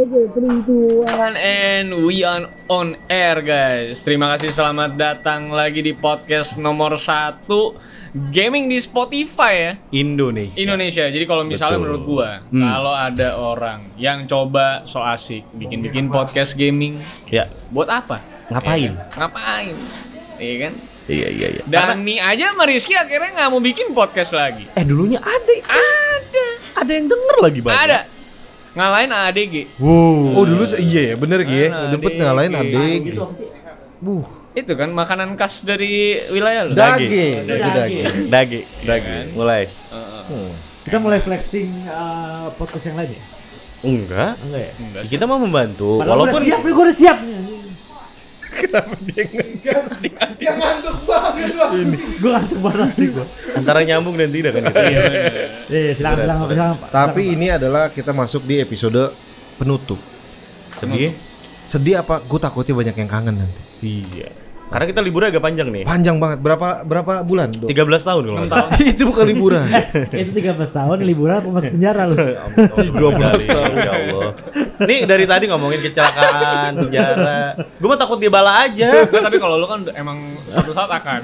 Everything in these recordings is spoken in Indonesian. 3, 2, 1 And we are on air guys Terima kasih selamat datang lagi di podcast nomor 1 Gaming di Spotify ya Indonesia. Indonesia. Jadi kalau misalnya Betul. menurut gua, Hmm. kalau ada orang yang coba so asik bikin-bikin podcast gaming, Ya. buat apa? Ngapain? Iya kan? Ngapain? Iya kan? Iya iya iya. Dani aja sama Rizky akhirnya nggak mau bikin podcast lagi. eh dulunya ada Ada, ada yang denger lagi banyak. ada. Ngalahin ADG. Wow. Oh dulu se- iya ya bener Gi Gitu, ya. Ah, Dempet adik. ngalahin adik. Buh. Itu kan makanan khas dari wilayah lu. Da- Daging. Itu daging. Dage. Daging. Mulai. Kita mulai flexing eh, podcast yang lain ya? Enggak. Enggak ya? Enggak sih. Kita mau membantu. Padahal Walaupun udah siap, gue udah siap. Gue ngantuk banget sih gue. antara nyambung dan tidak kan. gitu. Iya, iya, silakan, silakan, silakan. Pak. Tapi ini adalah kita masuk di episode penutup. Sedih. Sedih apa? Gue takutnya banyak yang kangen nanti. Iya. Karena kita liburnya agak panjang nih. Panjang banget. Berapa berapa bulan? Dok? 13 tahun kalau nggak salah. Itu bukan liburan. Itu 13 tahun liburan aku masuk penjara lu. tahun. Ya Allah. Nih dari tadi ngomongin kecelakaan, penjara. Gue mah takut dia bala aja. Nah, tapi kalau lu kan emang suatu saat akan.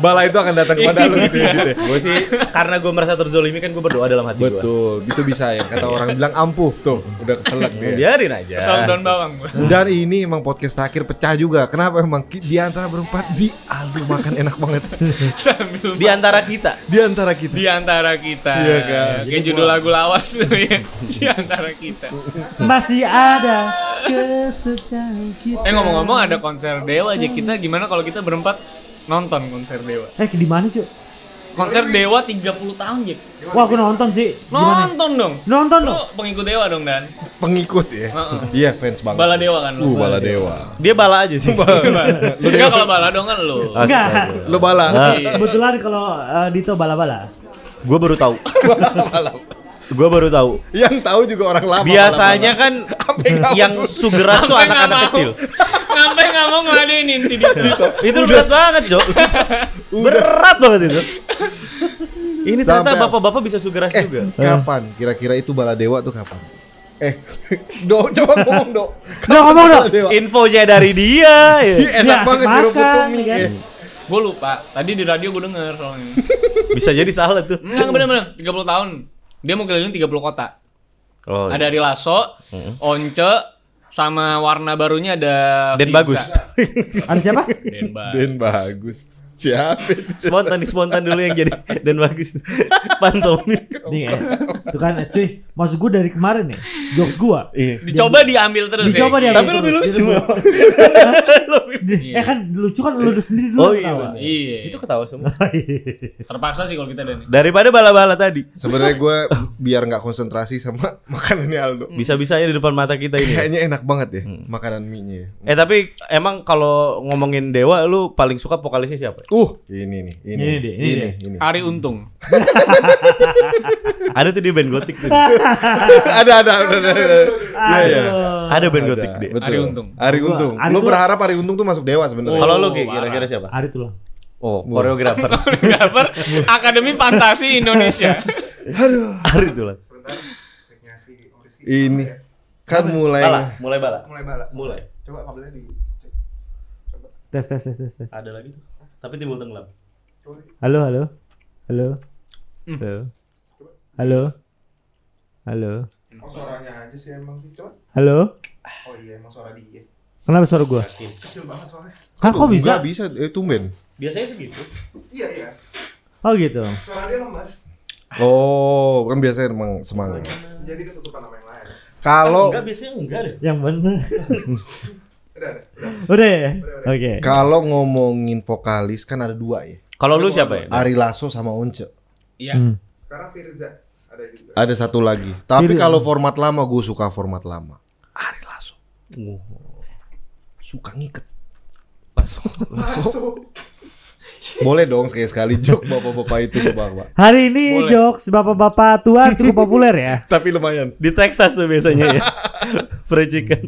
Bala itu akan datang kepada lu gitu ya. Dit, ya. Gue sih karena gue merasa terzolimi kan gue berdoa dalam hati gue. Betul, itu bisa ya. Kata orang bilang ampuh tuh, udah keselak dia. Biarin Selalu aja. daun bawang gua. Dan ini emang podcast terakhir pecah juga. Kenapa emang ki- di antara berempat di aduh makan enak banget. Sambil Di antara kita. Di antara kita. di antara kita. Iya kan? Kayak judul lagu lawas tuh ya. Di antara kita. Masih ada kesedihan kita. Eh ngomong-ngomong ada konser Dewa aja kita gimana kalau kita berempat nonton konser Dewa. Eh, di mana, Cuk? Konser Dewa 30 tahun ya. Wah, aku nonton sih. Gimana? Nonton dong. Nonton Lu loh. pengikut Dewa dong Dan. Pengikut ya. Heeh. Iya, fans banget. Bala Dewa kan lu. Lu Uh, bala dewa. Dia bala aja sih. Enggak kalau bala dong kan lu. Enggak. Lu bala. Iya. Kebetulan kalau eh, Dito bala-bala. Gue baru tahu. Bala. Gue baru tahu. Yang tahu juga orang lama. Biasanya kan Sampai nggak yang sugeras tuh Sampai nggak anak-anak mau. kecil. Sampai nggak mau ngeladenin si Dito. Itu berat banget, Jo. Berat banget itu. Ini ternyata Sampai- bapak-bapak bisa sugeras Eh, juga. kapan? Kira-kira itu bala dewa tuh kapan? Eh, do, coba ngomong do. Kapan Udah ngomong bala dong. dewa? Infonya dari dia. ya. Ih, enak Dia banget asik jeruk makan, putumi. kan? eh. Gue lupa. Tadi di radio gue denger soalnya. Bisa jadi salah tuh. Enggak bener-bener 30 tahun. Dia mau keliling 30 kota. Oh, Ada Ari Lasso, Once, sama warna barunya ada dan Viza. bagus. Ada siapa? Den Bagus. Den bagus. Siapa itu? Spontan spontan dulu yang jadi dan bagus. Pantomim. Nih, eh, tuh kan, eh, cuy, maksud gue dari kemarin nih, jokes gue. Iya. Dicoba diambil terus Dicoba ya. diambil Tapi terus. lebih lucu. Eh kan lucu kan lu sendiri dulu Oh iya. ketawa. bener. Iya. Itu ketawa semua. Terpaksa sih kalau kita Dani. Daripada bala-bala tadi. Sebenarnya gue biar nggak konsentrasi sama makanannya Aldo. Bisa-bisanya di depan mata kita ini. Kayaknya enak banget ya Hmm. makanan mie-nya. Eh tapi emang kalau ngomongin Dewa lu paling suka vokalisnya siapa? Uh, ini nih, ini, Ini Ah. deh, ini deh. ini. Ari Untung. Ada tuh di band gotik tuh. ada, ada, ada, ada, ada. Iya, iya. Aduh. Ada band Ada, gotik deh. Betul. Ari Untung. Ari Untung. Ari Lu tuh- berharap Ari Untung tuh masuk dewa sebenarnya. Kalau lu Ki, parah. kira-kira siapa? Ari tulang. Oh, koreografer. Koreografer Akademi Fantasi Indonesia. Aduh. Ari tuh lah. Ini kan mulai Bala, mulai bala. Mulai bala. Mulai. Coba kabelnya di Tes tes tes tes tes. Ada lagi tuh. Tapi timbul tenggelam. Halo halo. Halo. Halo. Halo. Halo. Oh suaranya aja sih emang sih coba. Halo. Oh iya emang suara dia. Kenapa suara gua? Kecil banget soalnya. Hah kok Nggak bisa? Ah, bisa, eh, tumben. Biasanya segitu. Iya iya. Oh gitu. Suara dia lemas. Oh, kan biasanya emang semangat. Jadi ketutupan sama yang lain. Kalau Enggak, biasanya enggak deh. Yang bener. Udah ada. Udah ya? Oke. kalau ngomongin vokalis kan ada dua ya. Kalau lu siapa ya? Ari Lasso sama Once. Iya. Hmm. Sekarang Firza ada juga. Ada satu lagi. Tapi Iya. kalau format lama gue suka format lama. Ari Lasso Oh, suka ngiket. Lasso. Masuk. Boleh dong sekali-sekali jok bapak-bapak itu bapak. Hari ini Boleh. jokes bapak-bapak tua cukup populer ya. Tapi lumayan. Di Texas tuh biasanya ya. Percikan.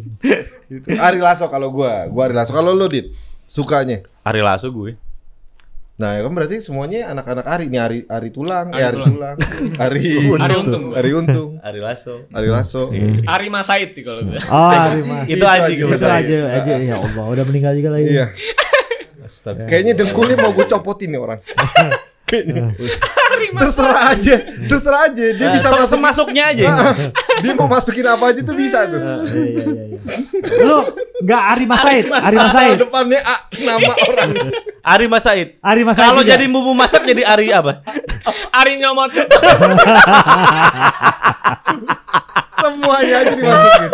Ari Lasso kalau gue, gue Ari Lasso. Kalau lo dit sukanya Ari Lasso gue. Nah, ya kan berarti semuanya anak-anak Ari nih Ari Ari tulang, Ari eh, Ari tulang, Ari Ari untung. Iya. Ari untung, Ari Lasso. Ari Lasso. Ari Mas Said sih kalau gitu. gue. Hmm. Oh, Iya. terima Itu aja Itu Iya, gue Itu aja, Ah, aja ya Allah. Udah meninggal juga lagi. Iya. Kayaknya dengkulnya mau gue copotin nih orang. Kayaknya. terserah aja, terserah aja. Dia bisa masuk, Ah, semasuknya Iya. aja. dia mau masukin apa aja tuh bisa tuh. Iya, iya, iya, iya. Lu enggak Ari Masaid, Ari Masaid. Depannya A, nama orang. Ari Mas Said. Ari Masaid. Kalau juga. jadi bumbu masak jadi Ari apa? Ari nyomot. Semuanya aja dimasukin.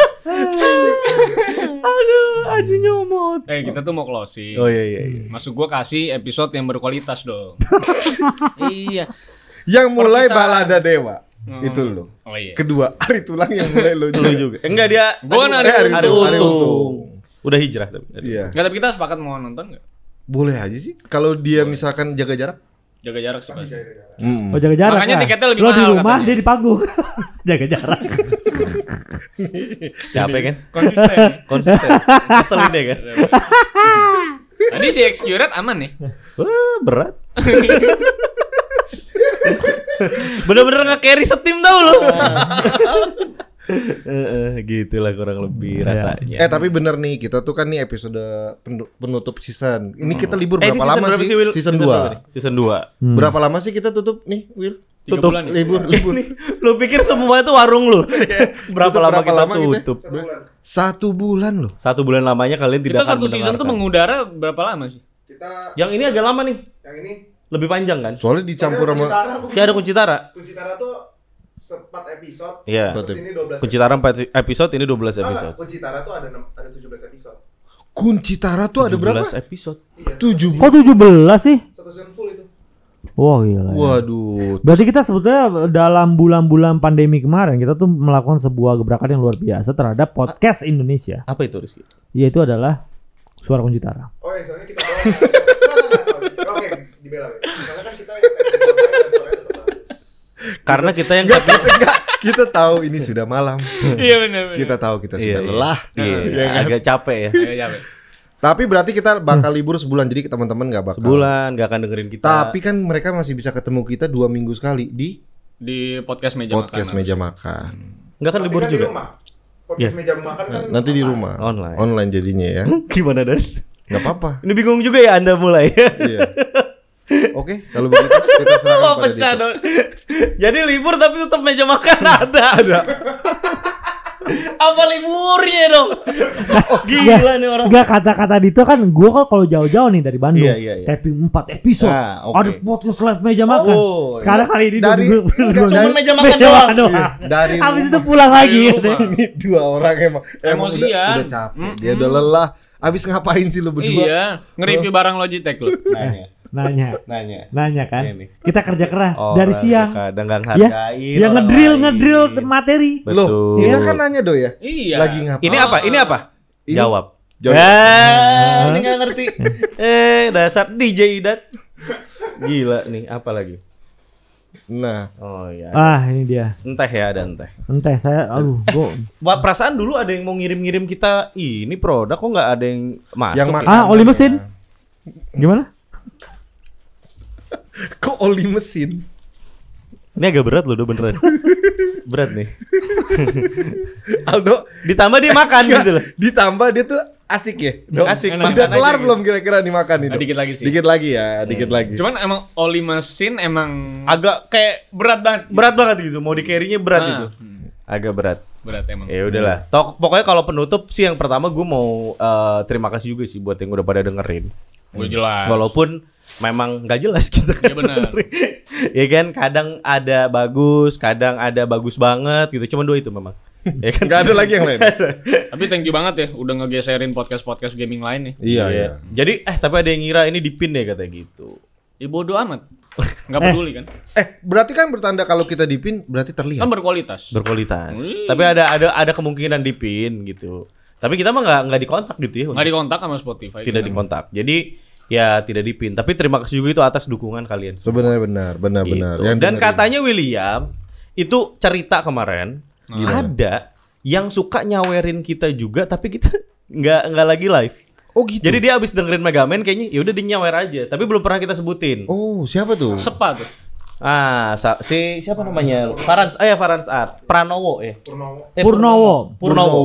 Aduh, Ah, Aji nyomot. eh kita tuh mau closing. Oh iya iya iya. Masuk gua kasih episode yang berkualitas dong. iya. Yang mulai Perpisahan. balada dewa. Hmm. Itu lo. Oh iya. Kedua, Ari tulang yang mulai lo Lu juga. juga. Enggak dia Gua kan Eh, nari Ari Ari untung. Ari Untung. untung. Udah hijrah tapi. Ari Iya. Nggak, tapi kita sepakat mau nonton nggak? Boleh aja sih kalau dia misalkan jaga jarak. Jaga jarak sih pasti. Hmm. Oh, jaga jarak. Makanya lah. tiketnya lebih Lu di mahal rumah, katanya. dia di panggung. jaga jarak. Untung. Capek kan? Konsisten. Konsisten. Keselin deh kan. Tadi si XQ Red aman ya? nih. Wah, berat. Bener-bener nge-carry setim tau lu. Heeh, gitulah kurang lebih Ya. rasanya. Eh tapi bener nih kita tuh kan nih episode pendu- penutup season. Ini kita libur Eh, ini berapa lama berapa sih? Will? Season Hmm. berapa nih? 2. Season 2. Berapa lama sih kita tutup nih, Will? Tiga Tutup. bulan ya? Libur, libur. lu pikir semua itu warung lu? berapa Tutup lama Iya. berapa kita lama gitu ya? kita? tutup? Satu bulan. Satu bulan loh. Satu bulan lamanya kalian Kita tidak akan satu season tuh mendengarkan. mengudara berapa lama sih? Kita Yang ini agak lama nih. yang ini Lebih panjang kan? Soalnya dicampur Soalnya sama Dia kunci Tara Iya, ada kunci tara. kunci Tara tuh seempat episode. Iya. Terus ini 12 Kunci tara 4 episode, ini 12 Enggak, episode. kunci Tara Ah, tuh ada enam- ada 17 episode. kunci tara tuh ada berapa? 12 episode. Iya. Tujuh. Kok 17 sih? Satu season full itu. Wah, gila. ya. Waduh. Berarti kita sebetulnya dalam bulan-bulan pandemi kemarin kita tuh melakukan sebuah gebrakan yang luar biasa terhadap podcast Indonesia. Apa itu Rizky? Yaitu adalah Suara Kunci Tara. Oh ya, soalnya kita doang. Nah, Enggak, enggak, enggak, soalnya. Oke, dibela. ya. Soalnya kan kita yang episode lain dan suaranya tetap bagus. Karena kita yang Enggak, kita, enggak. kita tahu ini sudah malam. Iya benar benar. Kita tahu kita sudah Iya, iya. lelah. Iya, Iya kan? agak capek ya. Iya, capek. Tapi berarti kita bakal libur sebulan jadi teman-teman nggak bakal. Sebulan gak akan dengerin kita. Tapi kan mereka masih bisa ketemu kita dua minggu sekali di Di podcast meja podcast Makanan. meja makan. Enggak kan Tapi libur kan di juga. Iya. rumah. Podcast meja makan kan Nanti di rumah. Online. Online jadinya ya. Gimana Dan? Nggak apa-apa. Ini bingung juga ya Anda mulai. Iya. Oke, kalau begitu kita serahkan Mau pada gitu. pecah Dito. Don. Jadi libur tapi tetap meja makan ada. Ada. Apa liburnya dong? Gila nih orang. Enggak kata-kata Dito kan gue kan kalau jauh-jauh nih dari Bandung. Iya, iya, iya. Tapi 4 episode. Ah, oke. Ada podcast live meja makan. Oh, Sekarang kali ini Dari- dua- dua- enggak, dua- cuman dua- meja makan doang. Iya, dari Habis itu rumah. pulang lagi. Dari rumah. Ini dua orang emang emang udah, Emosian. udah capek. Dia udah lelah. Abis ngapain sih lu berdua? Iya, nge-review barang Logitech lu. Nanya, Nanya. nanya. Nanya kan. Iya nih. Kita kerja keras dari Orang siang. Kadang gak Ya, hargain. ya iya, kan. orang ngedrill lain. ngedrill materi. Loh, Betul. kita kan nanya do ya. Iya. Lagi ngapain? Ini apa? Ini apa? Ini- Jawab. Jawab. Ah. Ya, ini gak ngerti. eh, dasar DJ Idat. Gila nih, apa lagi? Nah, Oh iya. Ah, ini dia. Entah ya, ada entah. Entah saya aduh, gua Wah, perasaan dulu ada yang mau ngirim-ngirim kita ini produk kok nggak ada yang masuk. yang ya? makan. Ah, oli mesin. Gimana? Kok oli mesin? Ini agak berat loh, udah beneran. berat nih. Aldo Ditambah dia makan gitu loh. ditambah dia tuh asik ya. Dok? Asik, Nah, Udah makan aja kelar gitu. belum kira-kira nih makan itu? Ah, dikit lagi sih. Dikit lagi Iya. ya, dikit lagi. Cuman emang oli mesin emang Agak kayak berat banget. berat banget gitu, mau di carry-nya berat Ah. gitu. Agak berat. Berat emang. Ya udahlah. Tok- pokoknya kalau penutup sih yang pertama gue mau eh, terima kasih juga sih buat yang udah pada dengerin. Gue jelas. Walaupun memang nggak jelas gitu Iya, kan. benar. sebenarnya. ya kan kadang ada bagus, kadang ada bagus banget gitu. Cuman dua itu memang. Ya kan? Gak ada lagi yang lain. Iya, Tapi thank you banget ya udah ngegeserin podcast-podcast gaming lain ya. nih. iya, iya. Jadi eh tapi ada yang ngira ini dipin deh katanya gitu. Ya bodo amat. Nggak peduli kan? Eh, berarti kan bertanda kalau kita dipin berarti terlihat. Kan berkualitas. Berkualitas. Tapi ada ada ada kemungkinan dipin gitu. Tapi kita mah nggak nggak dikontak gitu ya. Nggak dikontak sama Spotify. Tidak dikontak. Jadi ya tidak dipin. Tapi terima kasih juga itu atas dukungan kalian. semua. Sebenarnya benar, benar, benar. Gitu. Yang Dan dengerin. katanya William itu cerita kemarin ada yang suka nyawerin kita juga tapi kita nggak nggak lagi live. Oh, gitu. Jadi dia abis dengerin Megaman kayaknya ya udah dia nyawer aja, tapi belum pernah kita sebutin. Oh, siapa tuh? Sepa tuh. Ah, sa- si siapa namanya? Farans, eh Farans Art, Pranowo ya. Purnomo. Eh, Purnowo. Purnowo.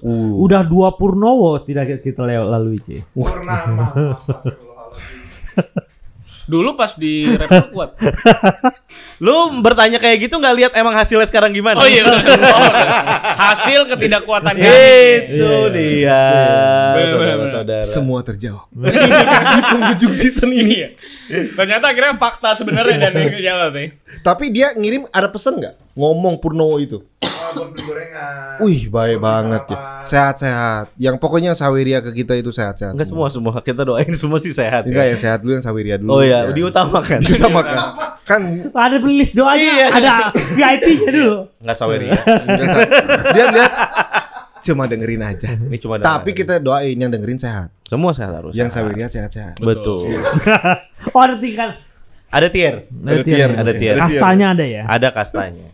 Uh. Udah dua Purnowo tidak kita lew- lalui Ci. Purnama. Astagfirullahaladzim. Dulu pas di rap kuat. Lu bertanya kayak gitu nggak lihat emang hasilnya sekarang gimana? Oh Gitu. iya. bener. Oh, bener. Hasil ketidakkuatan kami. Itu dia. Bener, Saudara-saudara. Semua terjawab. Di penghujung season ini. Iya. Ternyata akhirnya fakta sebenarnya dan yang eh. jawab nih. Tapi dia ngirim ada pesan nggak? Ngomong Purnowo itu. Oh, buat beli gorengan. Wih, baik Buat beli banget ya. sarapan. Sehat-sehat. Yang pokoknya Saweria ke kita itu sehat-sehat. Enggak semua semua kita doain semua sih sehat. Enggak ya. yang sehat dulu yang Saweria dulu. Oh iya, Ya. diutamakan. Kita makan. Kan Ada playlist doanya, Iya. ada VIP-nya dulu. Enggak saweria. enggak sehat. dia lihat cuma dengerin aja. Ini cuma doa. Tapi kita doain yang dengerin sehat. semua sehat harus. Yang Saweria sehat-sehat. betul. Iya. Oh ada tingkat. Ada tier. Ada tier, tier. Ada tier. Kastanya ada ya. Ada kastanya.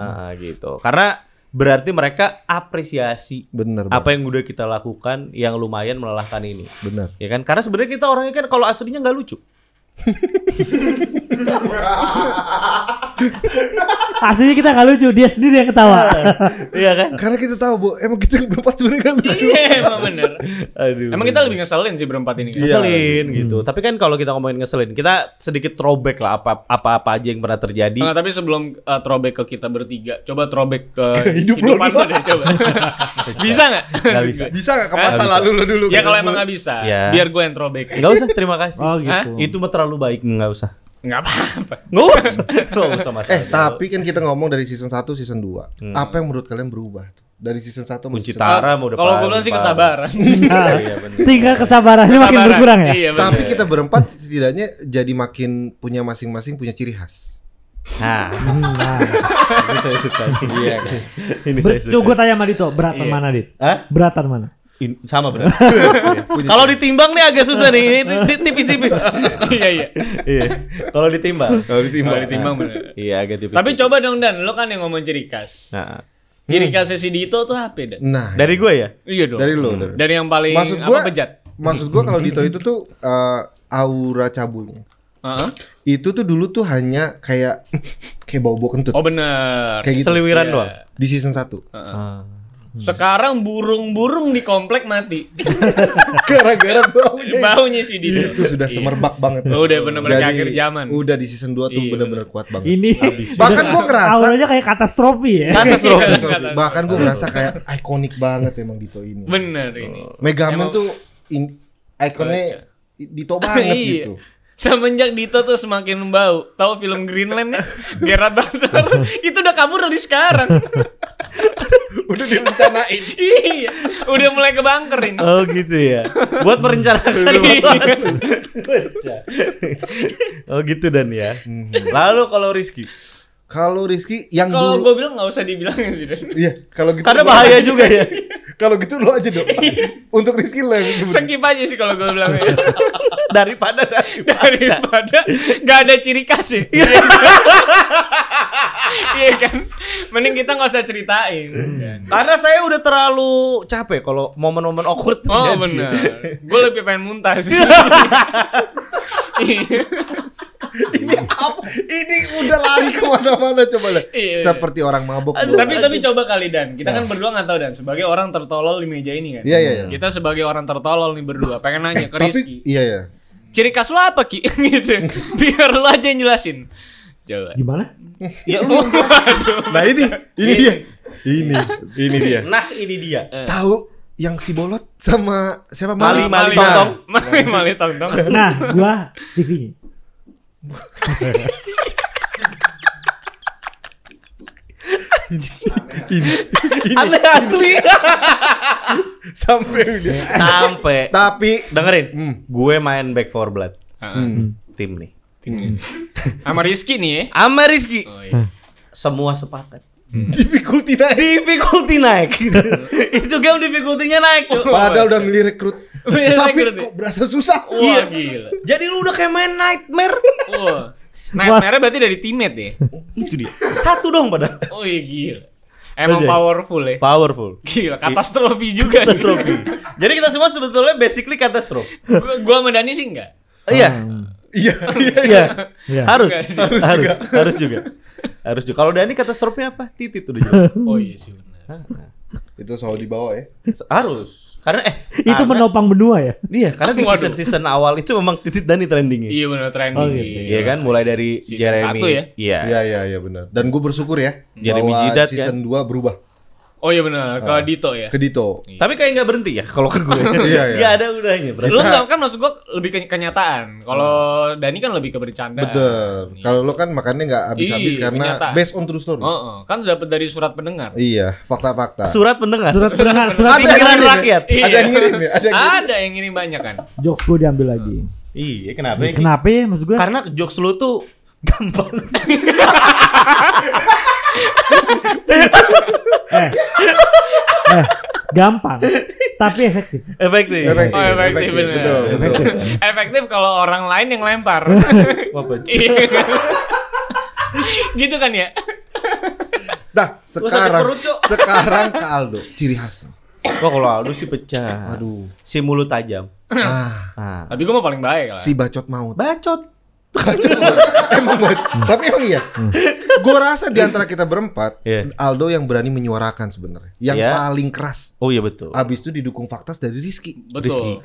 Ah, gitu. Karena berarti mereka apresiasi Bener, apa yang udah kita lakukan yang lumayan melelahkan ini. bener. Ya kan? Karena sebenarnya kita orangnya kan kalau aslinya nggak lucu. Aslinya kita nggak lucu, dia sendiri yang ketawa. Iya kan? Karena kita tahu, Bu, emang kita berempat sebenarnya kan lucu. Iya, emang bener. Aduh. Iya. Emang kita lebih ngeselin sih berempat ini. Iya. kan? ngeselin gitu. Tapi kan kalau kita ngomongin ngeselin, kita sedikit throwback lah apa apa apa aja yang pernah terjadi. Nah, tapi sebelum uh, throwback ke kita bertiga, coba throwback ke hidup lu kehidupan lu doang. deh coba. bisa nggak? Nggak bisa. Bisa nggak ke Hah? masa Nggak lalu lu dulu? Eh, gitu? ya kalau emang nggak bisa, Ya. biar gue yang throwback. Nggak usah, terima kasih. Oh gitu. Itu mah terlalu baik, nggak usah. Nggak apa-apa. Nggak usah, nggak usah masalah. Eh, tapi kan kita ngomong dari season 1, season 2. Hmm. Apa yang menurut kalian berubah? tuh? Dari season 1 sama kunci season tara mau depan. Kalau gue bilang sih kesabaran. Nah, Iya, bener. tingkat kesabarannya makin Kesabaran. berkurang ya. Iya, bener. Tapi kita berempat setidaknya jadi makin punya masing-masing punya ciri khas. Nah, Nah, ini saya suka. Iya. kan? Ini saya ber- suka. Coba gue tanya sama Dito, beratan Iya. mana Dit? Hah? Beratan mana? In- sama benar. Iya. Kalau ditimbang nih agak susah nih, ini di- tipis-tipis. Iya, iya. Iya. Kalau ditimbang. Kalau ditimbang. Kalau ditimbang bener. Iya, agak tipis. Tapi coba dong Dan, lo kan yang ngomong ciri khas. Nah, Ciri khasnya si Dito tuh apa Dan? Nah, dari gue ya. Iya dong. dari lo. dari- Dari yang paling Maksud apa, gua, bejat. maksud gua kalau Dito itu tuh eh, aura cabulnya. Heeh. Itu tuh dulu tuh hanya kayak kayak bau-bau kentut. Oh bener. Kayak gitu. Seliwiran Iya. doang. Di season 1. Ah. Sekarang burung-burung di komplek mati. Gara-gara baunya. Baunya si Dito. Itu sudah semerbak banget. Iya. Oh, Udah bener-bener kayak Dari- akhir zaman. Udah di season 2 tuh Iya, bener-bener kuat banget. Ini Bahkan gua ngerasa- auranya kayak katastrofi ya. Katastrofi. Iya, kata- Bahkan gue ngerasa kayak ikonik banget emang Dito ini. Bener ini. Megaman Emang- tuh in, ikonnya Dito banget Iya. gitu. Semenjak Dito tuh semakin bau. Tahu film Greenland nih? Gerard Butler itu udah kabur dari sekarang. Udah direncanain. iya. Udah mulai kebangkerin. Oh gitu ya. Buat merencanakan sesuatu. Kocak. oh gitu dan ya. Lalu kalau Rizky, Iya. Kalau Rizky yang Kalau dulu gue bilang nggak usah dibilangin sih. Dan. Iya, kalau gitu karena lu- bahaya juga ya. Kalau gitu lo aja dong. Iya. Untuk Rizky lo yang sebutin. Skip aja sih kalau gue bilang. ya. Daripada daripada. Daripada nggak ada ciri khas ya. Iya kan? Mending kita nggak usah ceritain. Hmm. Iya. Karena saya udah terlalu capek kalau momen-momen awkward Oh terjadi. bener. Gue lebih pengen muntah sih. ini apa? Ini udah lari kemana-mana coba lah. Iya. Seperti orang mabok. Aduh, Nah. gua. tapi tapi coba kali dan kita kan berdua nggak tahu dan sebagai orang tertolol di meja ini kan Iya, iya, iya. kita sebagai orang tertolol nih berdua pengen nanya ke tapi Rizky iya ya. ciri khas lo apa ki gitu biar lo aja yang jelasin coba Gimana? Ya lu. Nah ini ini dia. Ini ini dia. Nah, ini dia. Tahu yang si bolot sama siapa Mali, Mali, Nah, Tong-tong. mali mali tong tong Nah, gua TV-nya. Aneh asli. sampai udah. Sampai Tapi dengerin. Hmm. Gue main Back for Blood Ah, tim nih. sama Rizky nih ya Sama Rizky oh, iya. semua sepakat. difficulty naik. Difficulty naik gitu. Itu game difficulty-nya naik tuh. Padahal udah milih rekrut. Milih tapi Iya, rekrut, kok berasa susah. wah Iya. gila Jadi lu udah kayak main nightmare. wah nightmare berarti dari teammate ya Itu dia. Satu dong padahal. oh iya gila Emang Anjay. powerful ya. Powerful. Gila, katastrofi juga. Katastrofi. Jadi kita semua sebetulnya basically katastrof. Gua, gua sama Dani sih enggak. Iya. Iya, iya. Iya. Iya. Harus. Enggak sih. Harus. Harus juga. Harus juga. Harus juga. Kalau Dani katastrofnya apa? Titit udah jelas. Oh iya sih benar. Itu selalu dibawa ya. Harus. Karena eh Itu karena- menopang benua ya? Iya, karena di Waduh. season season awal itu memang titit Dani trendingnya. Iya benar trending. Oh, gitu. Iya kan, mulai dari Season Jeremy. satu ya? Iya. Iya, iya, iya benar. Dan gue bersyukur ya Jeremy bahwa Jidat, season 2 berubah Oh iya Ah. benar, ke Dito ya. ke Dito. Tapi kayak nggak berhenti ya kalau ke gue. Iya, iya. Nggak ada udahnya. berarti. Lu enggak kan maksud gua lebih ke kenyataan. Kalau Dani kan lebih ke bercandaan. Betul. Kalau lo kan makannya nggak Ih, habis-habis karena kenyataan. based on true story. Oh, oh. kan dapat dari surat pendengar. Iya, fakta-fakta. Surat pendengar. Surat pendengar, surat Pikiran pendengar. Ada yang rakyat. ngirim ya? Ada yang ngirim ya? Ada yang ngirim. Ada yang ngirim banyak kan? Jokes gue diambil lagi. Iya, kenapa? Ya, ya? Kenapa ya maksud gue? Karena jokes lu tuh gampang. Eh. eh, gampang, tapi efektif. Efektif. Efektif, Oh, efektif, bener. Betul, betul. Efektif. Efektif kalau orang lain yang lempar. Apa? Iya. gitu kan ya? Nah, sekarang perut, Cok. sekarang ke Aldo, ciri khasnya. Wah, kalau Aldo sih pecah. Aduh. Si mulut tajam. Ah, Ah. Tapi gua mau paling baik lah. si bacot maut. Bacot. emang buat. Hmm. Tapi emang iya. Gue rasa di antara kita berempat, Iya. Aldo yang berani menyuarakan sebenarnya, yang Iya. paling keras. Oh iya betul. Abis itu didukung faktas dari Rizky. Rizky.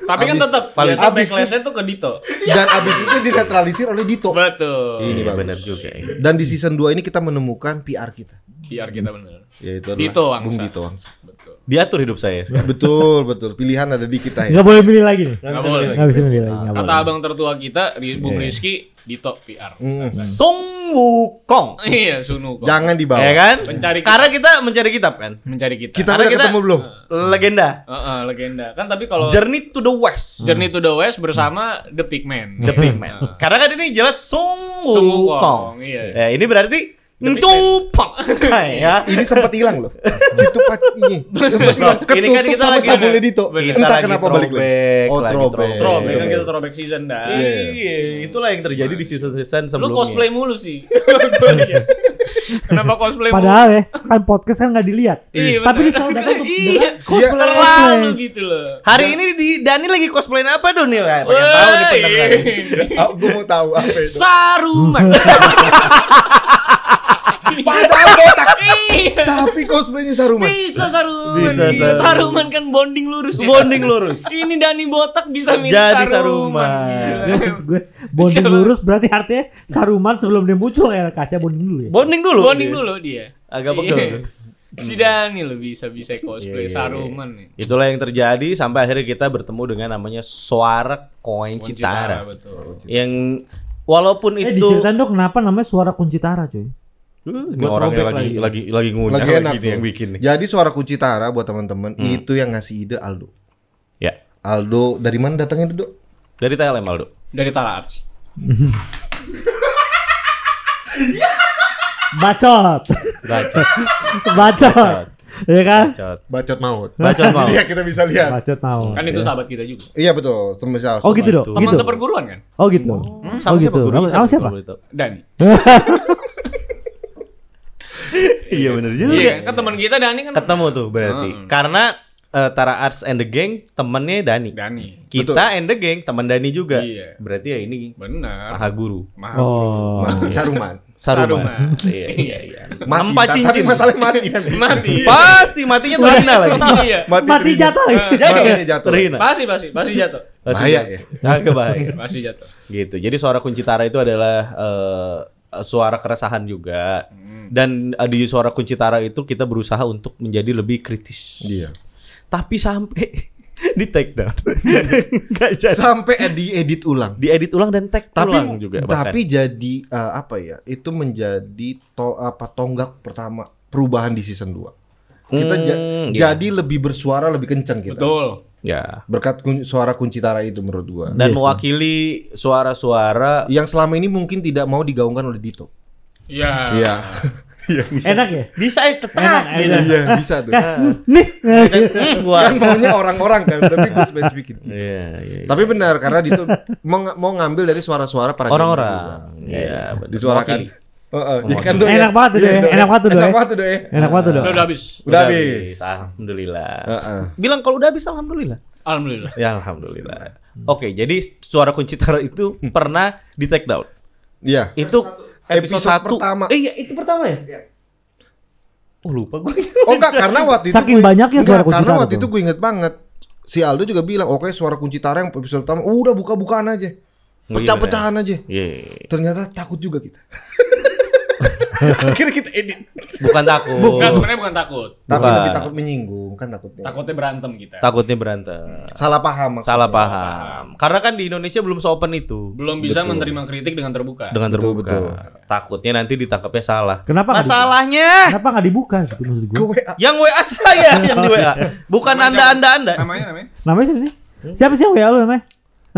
Betul. Tapi kan Abis- tetap paling- biasa abis- backlash-nya tuh ke Dito. Dan abis itu dinetralisir oleh Dito. Betul. Ini Iya, bagus. benar juga. ya. Dan di season 2 ini kita menemukan PR kita. Biar kita bener. Yaitu adalah Dito Wangsa. Bung Dito Wangsa. Betul. Diatur hidup saya sekarang. Betul, betul. Pilihan ada di kita ya. Gak boleh milih lagi nih. Nggak boleh. Gak bisa milih lagi. nggak Kata boleh. abang tertua kita, Ri- Bung Rizky, Dito PR. Hmm. Song Wukong. Iya, Sunu kok. Jangan dibawa. Ya kan? Mencari kitab. Karena kita mencari kitab kan. Mencari kita. Kita Karena udah kita- ketemu belum? Legenda. Heeh, legenda. Kan tapi kalau Journey to the West. Journey to the West bersama The Pigman. The Pigman. Karena kan ini jelas Song Song Hmm. Ah. Wukong, Wukong. iya. Ya, ini berarti Ntupang. ya. Ini sempat hilang loh. Situ pat ini. Sempat hilang. Ini kan Ketutup kita sama lagi- cabulnya Dito. Bener. Entah Kita kenapa lagi balik lagi. throwback, Oh, lagi throwback. Throwback kan Betul. kita throwback season dah. Iya. Iya, itulah yang terjadi di season-season Lu sebelumnya. cosplay mulu sih. Gua liat. Kenapa cosplay Padahal mulu? ya, kan podcast kan gak dilihat. Iya, Tapi benar. disalahkan untuk Iya. cosplay. Terlalu gitu loh. Hari ini di Dani lagi cosplayin apa dong nih? Wah, Pengen tahu nih Woi. pendengar. Ah, gue mau tahu apa itu. Saruman. Padahal botak. Iya. Tapi cosplaynya Saruman. Bisa Saruman. Bisa Iya. Saruman. Saruman kan bonding lurus ya. Bonding lurus. Ini Dani botak bisa mirip Jadi Saruman. Saruman. Gila. Terus gue bonding Coba. lurus berarti artinya Saruman sebelum dia muncul kayak kaca bonding dulu ya. Bonding dulu. Bonding Iya. dulu dia. Agak Iya. pegel. tuh. Si Dani lo bisa bisa cosplay Iya. Saruman nih. Itulah yang terjadi sampai akhirnya kita bertemu dengan namanya suara koin Citara, Citara. betul. Yang walaupun Eh itu diceritain dong kenapa namanya suara kunci Tara cuy. Huh, ini Gua orangnya throwback lagi lagi. lagi lagi ngunyah Lagi enak nih tuh. Ya. yang bikin nih. Hmm. Jadi suara kunci Tara buat teman-teman itu yang ngasih ide Aldo. Ya. Aldo dari mana datangnya Aldo? Dari TLM Aldo. Dari Tara Arts. Bacot. Bacot. Bacot. Iya kan? Bacot. Bacot maut. Bacot mau. Iya kita bisa lihat. Bacot mau. Kan itu sahabat kita juga. Iya betul, teman saya. Oh gitu dong. Teman gitu. seperguruan kan? Oh gitu. Oh Sama siapa? gitu. Gurunya Sama siapa? Kalau boleh tahu. Dani. Iya bener juga. Iya Hmm. kan? kan teman kita Dani kan Ketemu tuh berarti. Heeh. Karena eh, Tara Arts and the Gang temennya Dani. Dani. Kita and the Gang teman Dani juga. Iya. Berarti ya ini Benar. Maha Guru. Mahal. Oh. Saruman. Saruman. Iya, iya, iya. Mati, Tanpa ta- cincin. Tapi masalahnya mati kan. Iya, Mati. Pasti matinya terhina lagi. Iya. Mati terhina. jatuh lagi. Eh, Jadi Matinya nggak? jatuh. terhina. Pasti pasti pasti jatuh. Pasti Bahaya jatuh. ya. Agak bahaya. Pasti jatuh. gitu. Jadi suara kunci tara itu adalah eh, suara keresahan juga. Hmm. Dan eh, di suara kunci tara itu kita berusaha untuk menjadi lebih kritis. Iya. Tapi sampai di take down. Nggak jadi. Sampai diedit ulang. Diedit ulang dan tag tapi ulang juga bahkan. tapi jadi eh, apa ya itu menjadi to, apa tonggak pertama perubahan di season 2 kita ja- Hmm, iya. jadi lebih bersuara lebih kencang kita Betul. ya. berkat kun- suara kunci tara itu menurut gua Dan mewakili suara-suara yang selama ini mungkin tidak mau digaungkan oleh Dito Iya. iya Enak ya? bisa eh, Enak, tetap gitu. enak. iya bisa tuh Nih. Hmm, gua. kan maunya orang-orang kan tapi gue spesifikin Iya, iya, iya. tapi benar karena Dito mau, nga- mau ngambil dari suara-suara para Orang-orang. Iya, benar. disuarakan Mewakili. Heeh. Ngomong. Ikan doi. Enak banget tuh, Iya, doi. doi. Enak banget tuh, doi. Enak banget tuh doi. Enak banget tuh dong. Udah, udah habis. Udah habis. Alhamdulillah. Heeh. Bilang kalau udah habis alhamdulillah. Alhamdulillah. Ya alhamdulillah. Oke, jadi suara kunci tara itu pernah di take down. Iya. Itu Episode episode, satu pertama. Eh, iya, itu pertama ya? Iya. Oh, lupa gue. Oh enggak, karena waktu itu Saking gue- banyaknya enggak, suara kunci Karena tara waktu tuh. itu gue inget banget Si Aldo juga bilang, oke suara kunci tara yang episode pertama "Oh, Udah buka-bukaan aja Oh, iya, Pecah-pecahan aja Iya. Ternyata takut juga kita Akhirnya kita edit Bukan takut. Enggak sebenarnya bukan takut. Tapi Bukan. lebih takut menyinggung kan takutnya Takutnya berantem kita. Takutnya berantem. Salah paham maksudnya. Salah paham. Karena kan di Indonesia belum seopen itu. Belum bisa Betul. menerima kritik dengan terbuka. dengan Betul, terbuka. betul. Takutnya nanti ditangkapnya salah. Kenapa gitu? nggak dibuka? Masalahnya Kenapa nggak dibuka gitu maksud gue? Gue WA yang WA saya yang di WA. Bukan Namanya Anda siapa? Anda Anda. Namanya namanya? Namanya siapa sih? Siapa sih yang WA lu namanya?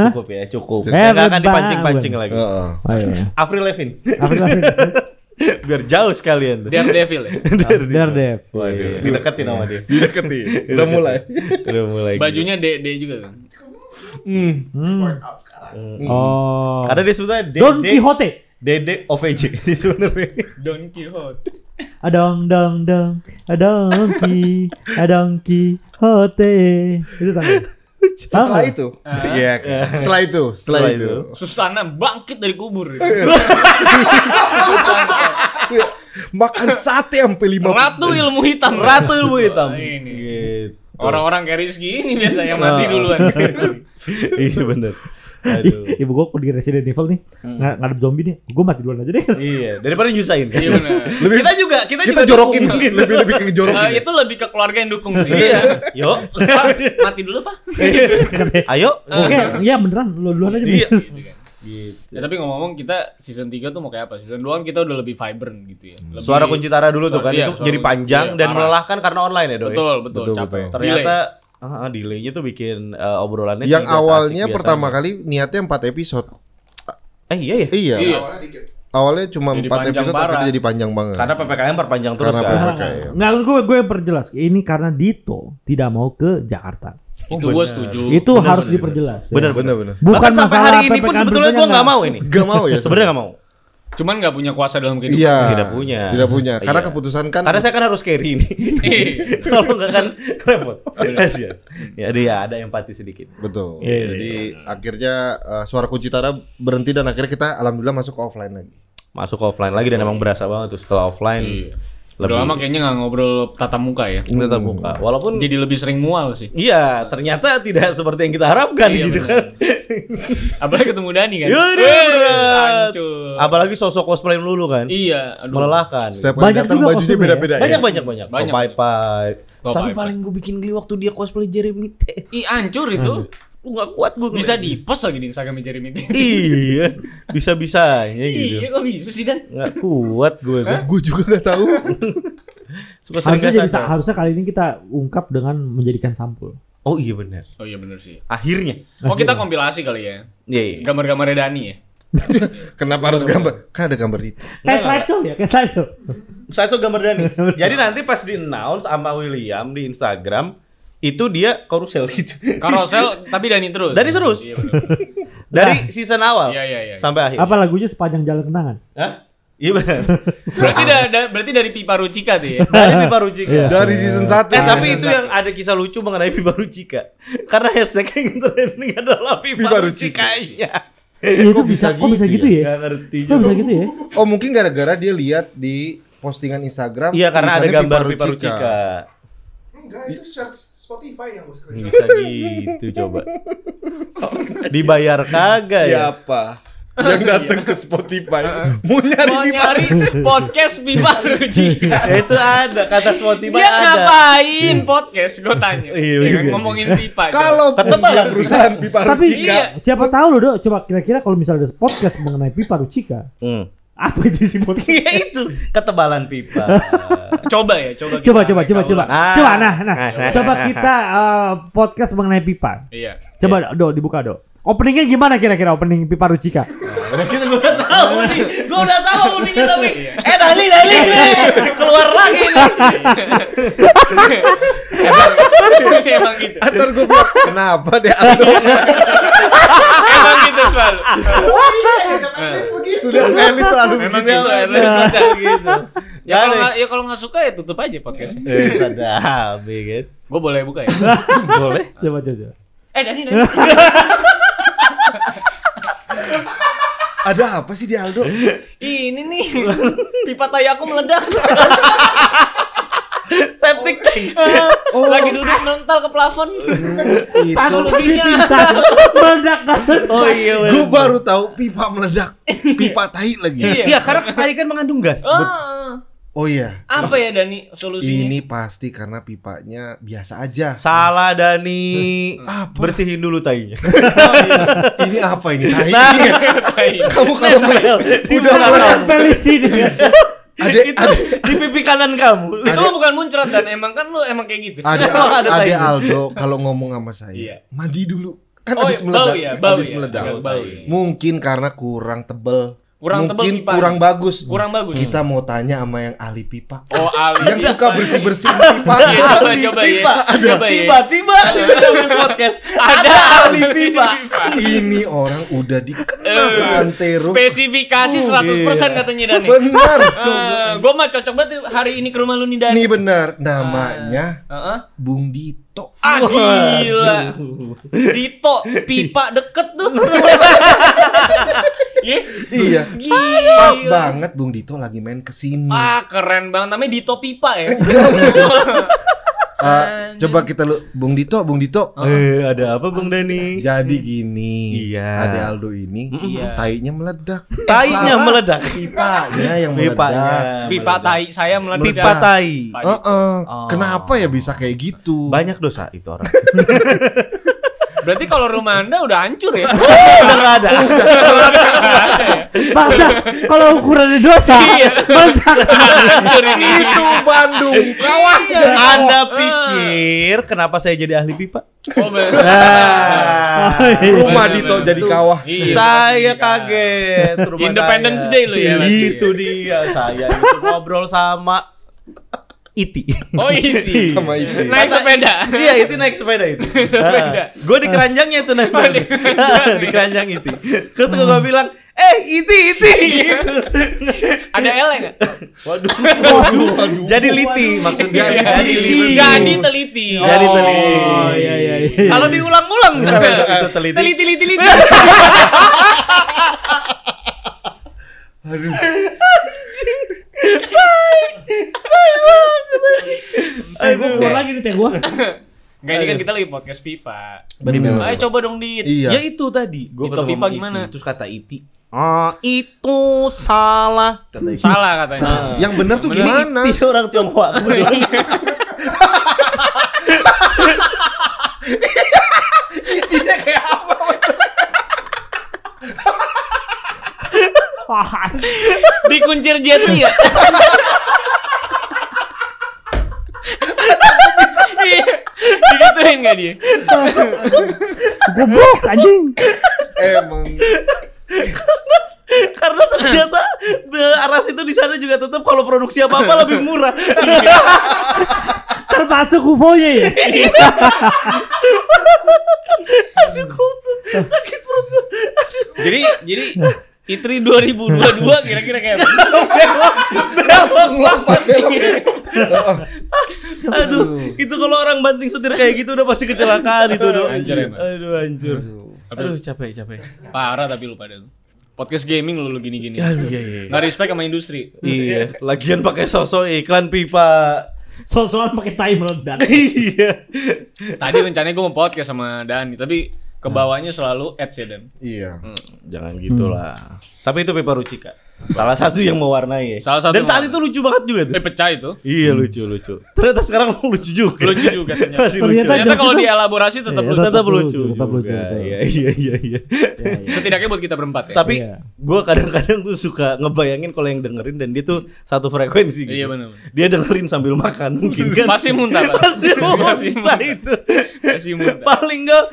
Hah? Cukup ya, cukup. Cukup. Saya nggak akan Hebat dipancing-pancing banget. lagi. Heeh. Oh, iya. Avril Levin. Apa sih namanya? Biar jauh sekalian. tuh. Daredevil ya. Daredevil. Waduh, dideketin sama dia. Iya. Dideketin Udah mulai Udah mulai. gitu. Bajunya D D juga kan. Hmm. Out sekarang. Oh. Karena dia sebenarnya Don Dede Quixote. Dede OVJ dia sebenarnya. Don Quixote. Adong dong dong. Adong ki. Adong Quixote. Itu tadi. Setelah Sama. itu Iya Setelah itu Setelah Setelah itu Susana bangkit dari kubur. ya, Makan sate sampai lima Ratu ilmu hitam. Ratu ilmu Oh, hitam. Iya. ini. Gitu. Orang-orang kayak Rizky ini biasa yang mati Oh. duluan. Iya bener. Ih, Aduh. Ibu gua di Resident Evil nih nggak ngadep zombie nih. Gua mati duluan aja deh. Iya, daripada nyusahin kan. Iya benar. Lebih- kita juga, kita, juga Kita gitu. Nah, jorokin dukung. Lebih-lebih ke Eh, jorokin itu lebih ke keluarga yang dukung sih. Iya. Yuk. Pak, mati dulu pak. Ayo. Oke, iya beneran lu duluan aja Iya. deh. Gitu kan. Ya, tapi ngomong-ngomong kita season 3 tuh mau kayak apa? Season 2 kita udah lebih vibrant gitu ya. Lebih- Suara kunci tara dulu tuh Suara- kan iya, itu suara jadi kunci- panjang iya, dan parah. melelahkan karena online ya, Doi. Betul, betul, Betul, capek. betul. Ternyata ah, delaynya tuh bikin eh, obrolannya Yang tidak seasik awalnya biasanya. pertama kan? kali niatnya empat episode Eh iya ya. Iya Iya. Awalnya dikit. Awalnya cuma Jadi empat panjang episode tapi parah. jadi panjang banget. Karena PPKM perpanjang terus Karena kan. PPKM. Oke. Nggak, gue gue perjelas. Ini karena Dito tidak mau ke Jakarta. Itu gue setuju. Itu bener, harus bener, diperjelas. ya. Bener, bener bener. Bukan Bahkan sampai masalah hari ini pun PPKM sebetulnya berikutnya gua nggak nggak. mau ini. Gak mau ya Sebenarnya nggak mau. Cuman nggak punya kuasa dalam kehidupan. Iya. Tidak punya. Tidak punya. Karena Iya. keputusan kan. Karena saya kan harus carry ini. Iya. Kalau nggak kan repot. Kasian. Ya ada ya ada empati sedikit. Betul. Iya, iya, jadi akhirnya eh, suara kunci tara berhenti dan akhirnya kita alhamdulillah masuk ke offline lagi. Masuk ke offline lagi dan emang berasa banget tuh setelah offline. Iya. Udah lama kayaknya nggak ngobrol tatap muka ya. tetap buka. Walaupun Jadi lebih sering mual sih. Iya, ternyata tidak seperti yang kita harapkan Iya, gitu benar. kan. Apalagi ketemu Dani kan. Yaudah, Wih, berat. hancur. Apalagi sosok cosplay melulu kan. Iya, aduh. Melelahkan. Setiap Banyak kali datang juga bajunya kostumnya beda-beda. Banyak ya? banyak banyak. Banyak, Kopai pai. Kopai Tapi Pai. paling gue bikin geli waktu dia cosplay Jeremy T. Ih, hancur itu. Gue gak kuat gue. Bisa di post lagi di Instagram Jeremy. Iya, bisa-bisanya Iya, gitu. kok bisa sih Dan? Gak kuat gue. Gue juga nggak tahu. Suka sering Harusnya, jadi, kesasar. harusnya kali ini kita ungkap dengan menjadikan sampul. Oh iya benar. Oh iya bener sih. Akhirnya. Oh kita kompilasi kali ya. Iya, iya. Gambar-gambarnya Dani ya. Kenapa harus gambar? Kan ada gambar itu. Kayak slideshow ya, kayak slideshow. Saya suka gambar Dani. Jadi nanti pas di announce sama William di Instagram itu dia karusel gitu. Karosel tapi Dani terus. Dani terus. Iya bener. Dari season awal Iya, iya, iya. sampai akhir. Nah. Apa lagunya sepanjang jalan kenangan? Hah? Iya benar. Berarti da- da- berarti dari pipa Rucika tuh ya. Dari Pipa Rucika. Iya. Dari season Iya. 1. Eh tapi itu yang ada kisah lucu mengenai Pipa Rucika. Karena hashtag yang trending adalah Pipa, Pipa Rucika. Rucikanya. Iya itu Kok bisa bisa, kok bisa gitu gitu ya? Gak ngerti Kok bisa juga. gitu ya? Oh mungkin gara-gara dia lihat di postingan Instagram. Iya karena ada tulisannya gambar Pipa Pipa Rucika. Rucika. Enggak, itu search Spotify yang gue screenshot. Bisa gitu coba. Dibayar kagak ya? Siapa? Yang datang ke Spotify mau nyari Mau Pipa nyari podcast pipa Rucika. Ya, itu ada kata Spotify Dia ada. ngapain podcast? Gue tanya. Ya Iya, kan, juga sih. ngomongin pipa. Kalau Tetep punya lah. perusahaan pipa Tapi Rucika, Iya. siapa tahu loh, Dok. Coba kira-kira kalau misalnya ada podcast mengenai pipa Rucika, Hmm. apa itu sih podcast? Ya itu ketebalan pipa. coba ya, coba. Coba, kita coba, coba, reka coba. ulang. Ah. Coba, nah, nah. Ah. Coba kita eh, podcast mengenai pipa. Iya. Coba, Do, dibuka, Do. Openingnya gimana kira-kira opening pipa Rucika? Kita gue udah tahu nih, gue udah tahu nih tapi eh Dali Dali keluar lagi nih. emang, gitu. emang gitu. ntar gue bilang kenapa deh Aldo Emang gitu. Pak. Eh, Sudah Elis selalu Memang gitu, begitu. Iya. Erlis baca gitu. Ya kalau nggak- ya kalau nggak suka ya tutup aja podcastnya. Eh, sadap, ya kan? Gue boleh buka ya. Boleh. Coba coba. Eh Dani, Dani. Ada apa sih di Aldo? Iya. Ini nih pipa tai aku meledak. Septic tank. Oh. Lagi duduk mental ke plafon. Pas Itu. solusinya. Bisa meledak kan. Oh iya. bener. Gue baru tahu pipa meledak, pipa tai lagi. Iya. Iya, karena tadi kan mengandung gas. Ah, Oh iya. Apa ya Dani solusinya? Ini pasti karena pipanya biasa aja. Salah Dani. Ah, Apa? Bersihin dulu tainya. Oh, iya. Ini apa ini? Tai. Nah. Tai. Kamu kan kalau melihat udah melihat Pelis ini. ada itu di pipi kanan kamu. Itu mah bukan muncrat dan emang kan lu emang kayak gitu. ada Ada ada tainya. Aldo kalau ngomong sama Iya. saya mandi dulu kan Oh, habis iya, meledak bau ya, bau habis ya. meledak Agak bau ya. mungkin karena kurang tebel Kurang tebel mungkin pipa. kurang bagus Kurang bagus. kita mau tanya sama yang ahli pipa Oh, Ali. yang suka bersih bersih pipa Iya, coba Ahli coba ya. pipa. Coba ya. Tiba-tiba tiba-tiba di podcast ada Ada ahli pipa. ini orang udah dikenal Eh, seantero Spesifikasi Oh, iya. 100% katanya Dani. benar gue mah cocok banget hari ini ke rumah lu nih Dani. ini benar namanya Heeh. Bung Dito Ah gila. Dito pipa deket tuh. Iya. iya Gila. pas banget Bung Dito lagi main kesini Ah keren banget namanya Dito pipa ya. Eh, coba kita lu Bung Dito Bung Dito Oh. Eh, ada apa Bung Dani? Jadi gini, Iya. Ade Aldo ini Iya. tainya meledak. Tainya meledak. Pipanya yang meledak. Pipanya. pipa tai saya meledak. ya, Pipa tai. Tai. Heeh. Oh. Kenapa ya bisa kayak gitu? Banyak dosa itu orang. Berarti kalau rumah anda udah hancur ya. Oh, Udah nggak ada. Masa kalau ukurannya dosa. Iya. Meledak. hancur ini. Iya. Itu Bandung kawan. Anda pikir kenapa saya jadi ahli pipa? Oh, bener. Nah, Rumah Bener, Dito bener. jadi kawah. Iya, saya kaget rumah Independence saya. Day lu ya, berarti ya? Itu dia saya itu ngobrol sama Iti. Oh ini. Sama itu. Naik sepeda. Iya, Iti naik sepeda itu. sepeda. Gue di keranjangnya itu naik. Oh, di keranjang. di keranjang Iti. Terus gue bilang, "Eh, Iti, Iti." Iya. gitu. Ada L ya nggak? Waduh. Waduh, waduh. Jadi liti maksudnya. Jadi Jadi liti. liti. Jadi teliti. Jadi teliti. Oh iya iya iya. Kalau diulang-ulang misalnya itu teliti. teliti teliti teliti. Aduh. Aduh, Eh, gua lagi nih teh gua. Enggak ini kan kita lagi podcast pipa. Bener. Ayo coba dong di. Iya. Ya itu tadi. Gue Itu pipa gimana? Terus kata Iti. Ah, itu salah. Kata Iti. Salah katanya. Yang benar tuh Bener. gimana? Iti orang Tionghoa. kebetulan. Isinya kayak apa? Wah, Dikuncir Jet Li ya. Iya. Digituin gak dia? goblok anjing. Emang Karena ternyata be- aras itu di sana juga tetap kalau produksi apa-apa lebih murah. Termasuk UFO-nya ya. Aduh, goblok. Sakit perut gue. Jadi jadi Itri 2022 kira-kira kayak apa? langsung lompat belok. Heeh. Aduh, itu kalau orang banting setir kayak gitu udah pasti kecelakaan itu, Dok. Hancur emang. Aduh, hancur. Aduh, capek, capek. parah tapi lu pada tuh. Podcast gaming lu lu gini-gini. Aduh, iya, iya. Nggak respect sama industri. Iya, lagian pakai sosok iklan pipa. Soal-soal pakai tai meledak. Iya. Tadi rencananya gue mau podcast sama Dani, tapi Nah. kebawahnya selalu ads ya Dan. Iya. Jangan Hmm. gitulah. Tapi itu pipa rucika. Salah satu yang mewarnai ya. Salah satu Dan saat mewarnai. itu lucu banget juga tuh. Eh pecah itu. Iya, lucu, lucu. Ternyata sekarang lucu juga. Lucu juga ternyata. Masih lucu. Ternyata Ternyata kalau Jokes itu- dielaborasi tetap Iya, lucu. tetap lucu, tetap lucu, juga. betul. Iya, iya, iya, iya. Setidaknya buat kita berempat ya. Eh, Tapi Iya. gue kadang-kadang tuh suka ngebayangin kalau yang dengerin dan dia tuh satu frekuensi. Gitu. Iya, benar. Dia dengerin sambil makan mungkin kan? Pasti muntah, Pak. Pasti Pasti muntah muntah. itu. Pasti muntah. Paling nggak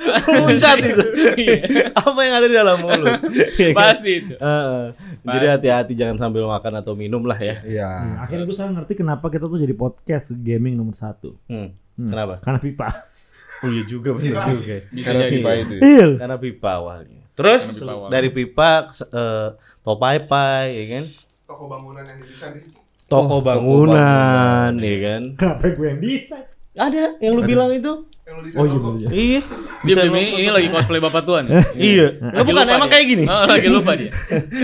muncat itu. Iya. Apa yang ada di dalam mulut? Iya kan? Pasti itu. Heeh. Jadi Pasti. hati-hati jangan sambil makan atau minum lah ya. Iya. Nah, Akhirnya gue sekarang ngerti kenapa kita tuh jadi podcast gaming nomor satu. Hmm. Hmm. Kenapa? Karena pipa. Oh iya juga bener juga. Bisa Karena jadi. ya. pipa itu. Iya. Karena pipa awalnya. Terus Lebih bawah. dari pipa ke- eh, topai pai ya kan. Toko bangunan yang didesain Rizky. Toko Oh, toko bangunan ya kan. Kenapa gue yang desain? Ada yang lu bilang itu? Yang lu Oh desain iya toko. iya. Iya. Dia Bisa ini, ini nelfon. lagi cosplay bapak tuan. ya? Iya. Lah bukan lupa emang dia. kayak gini. Oh, lagi lupa dia.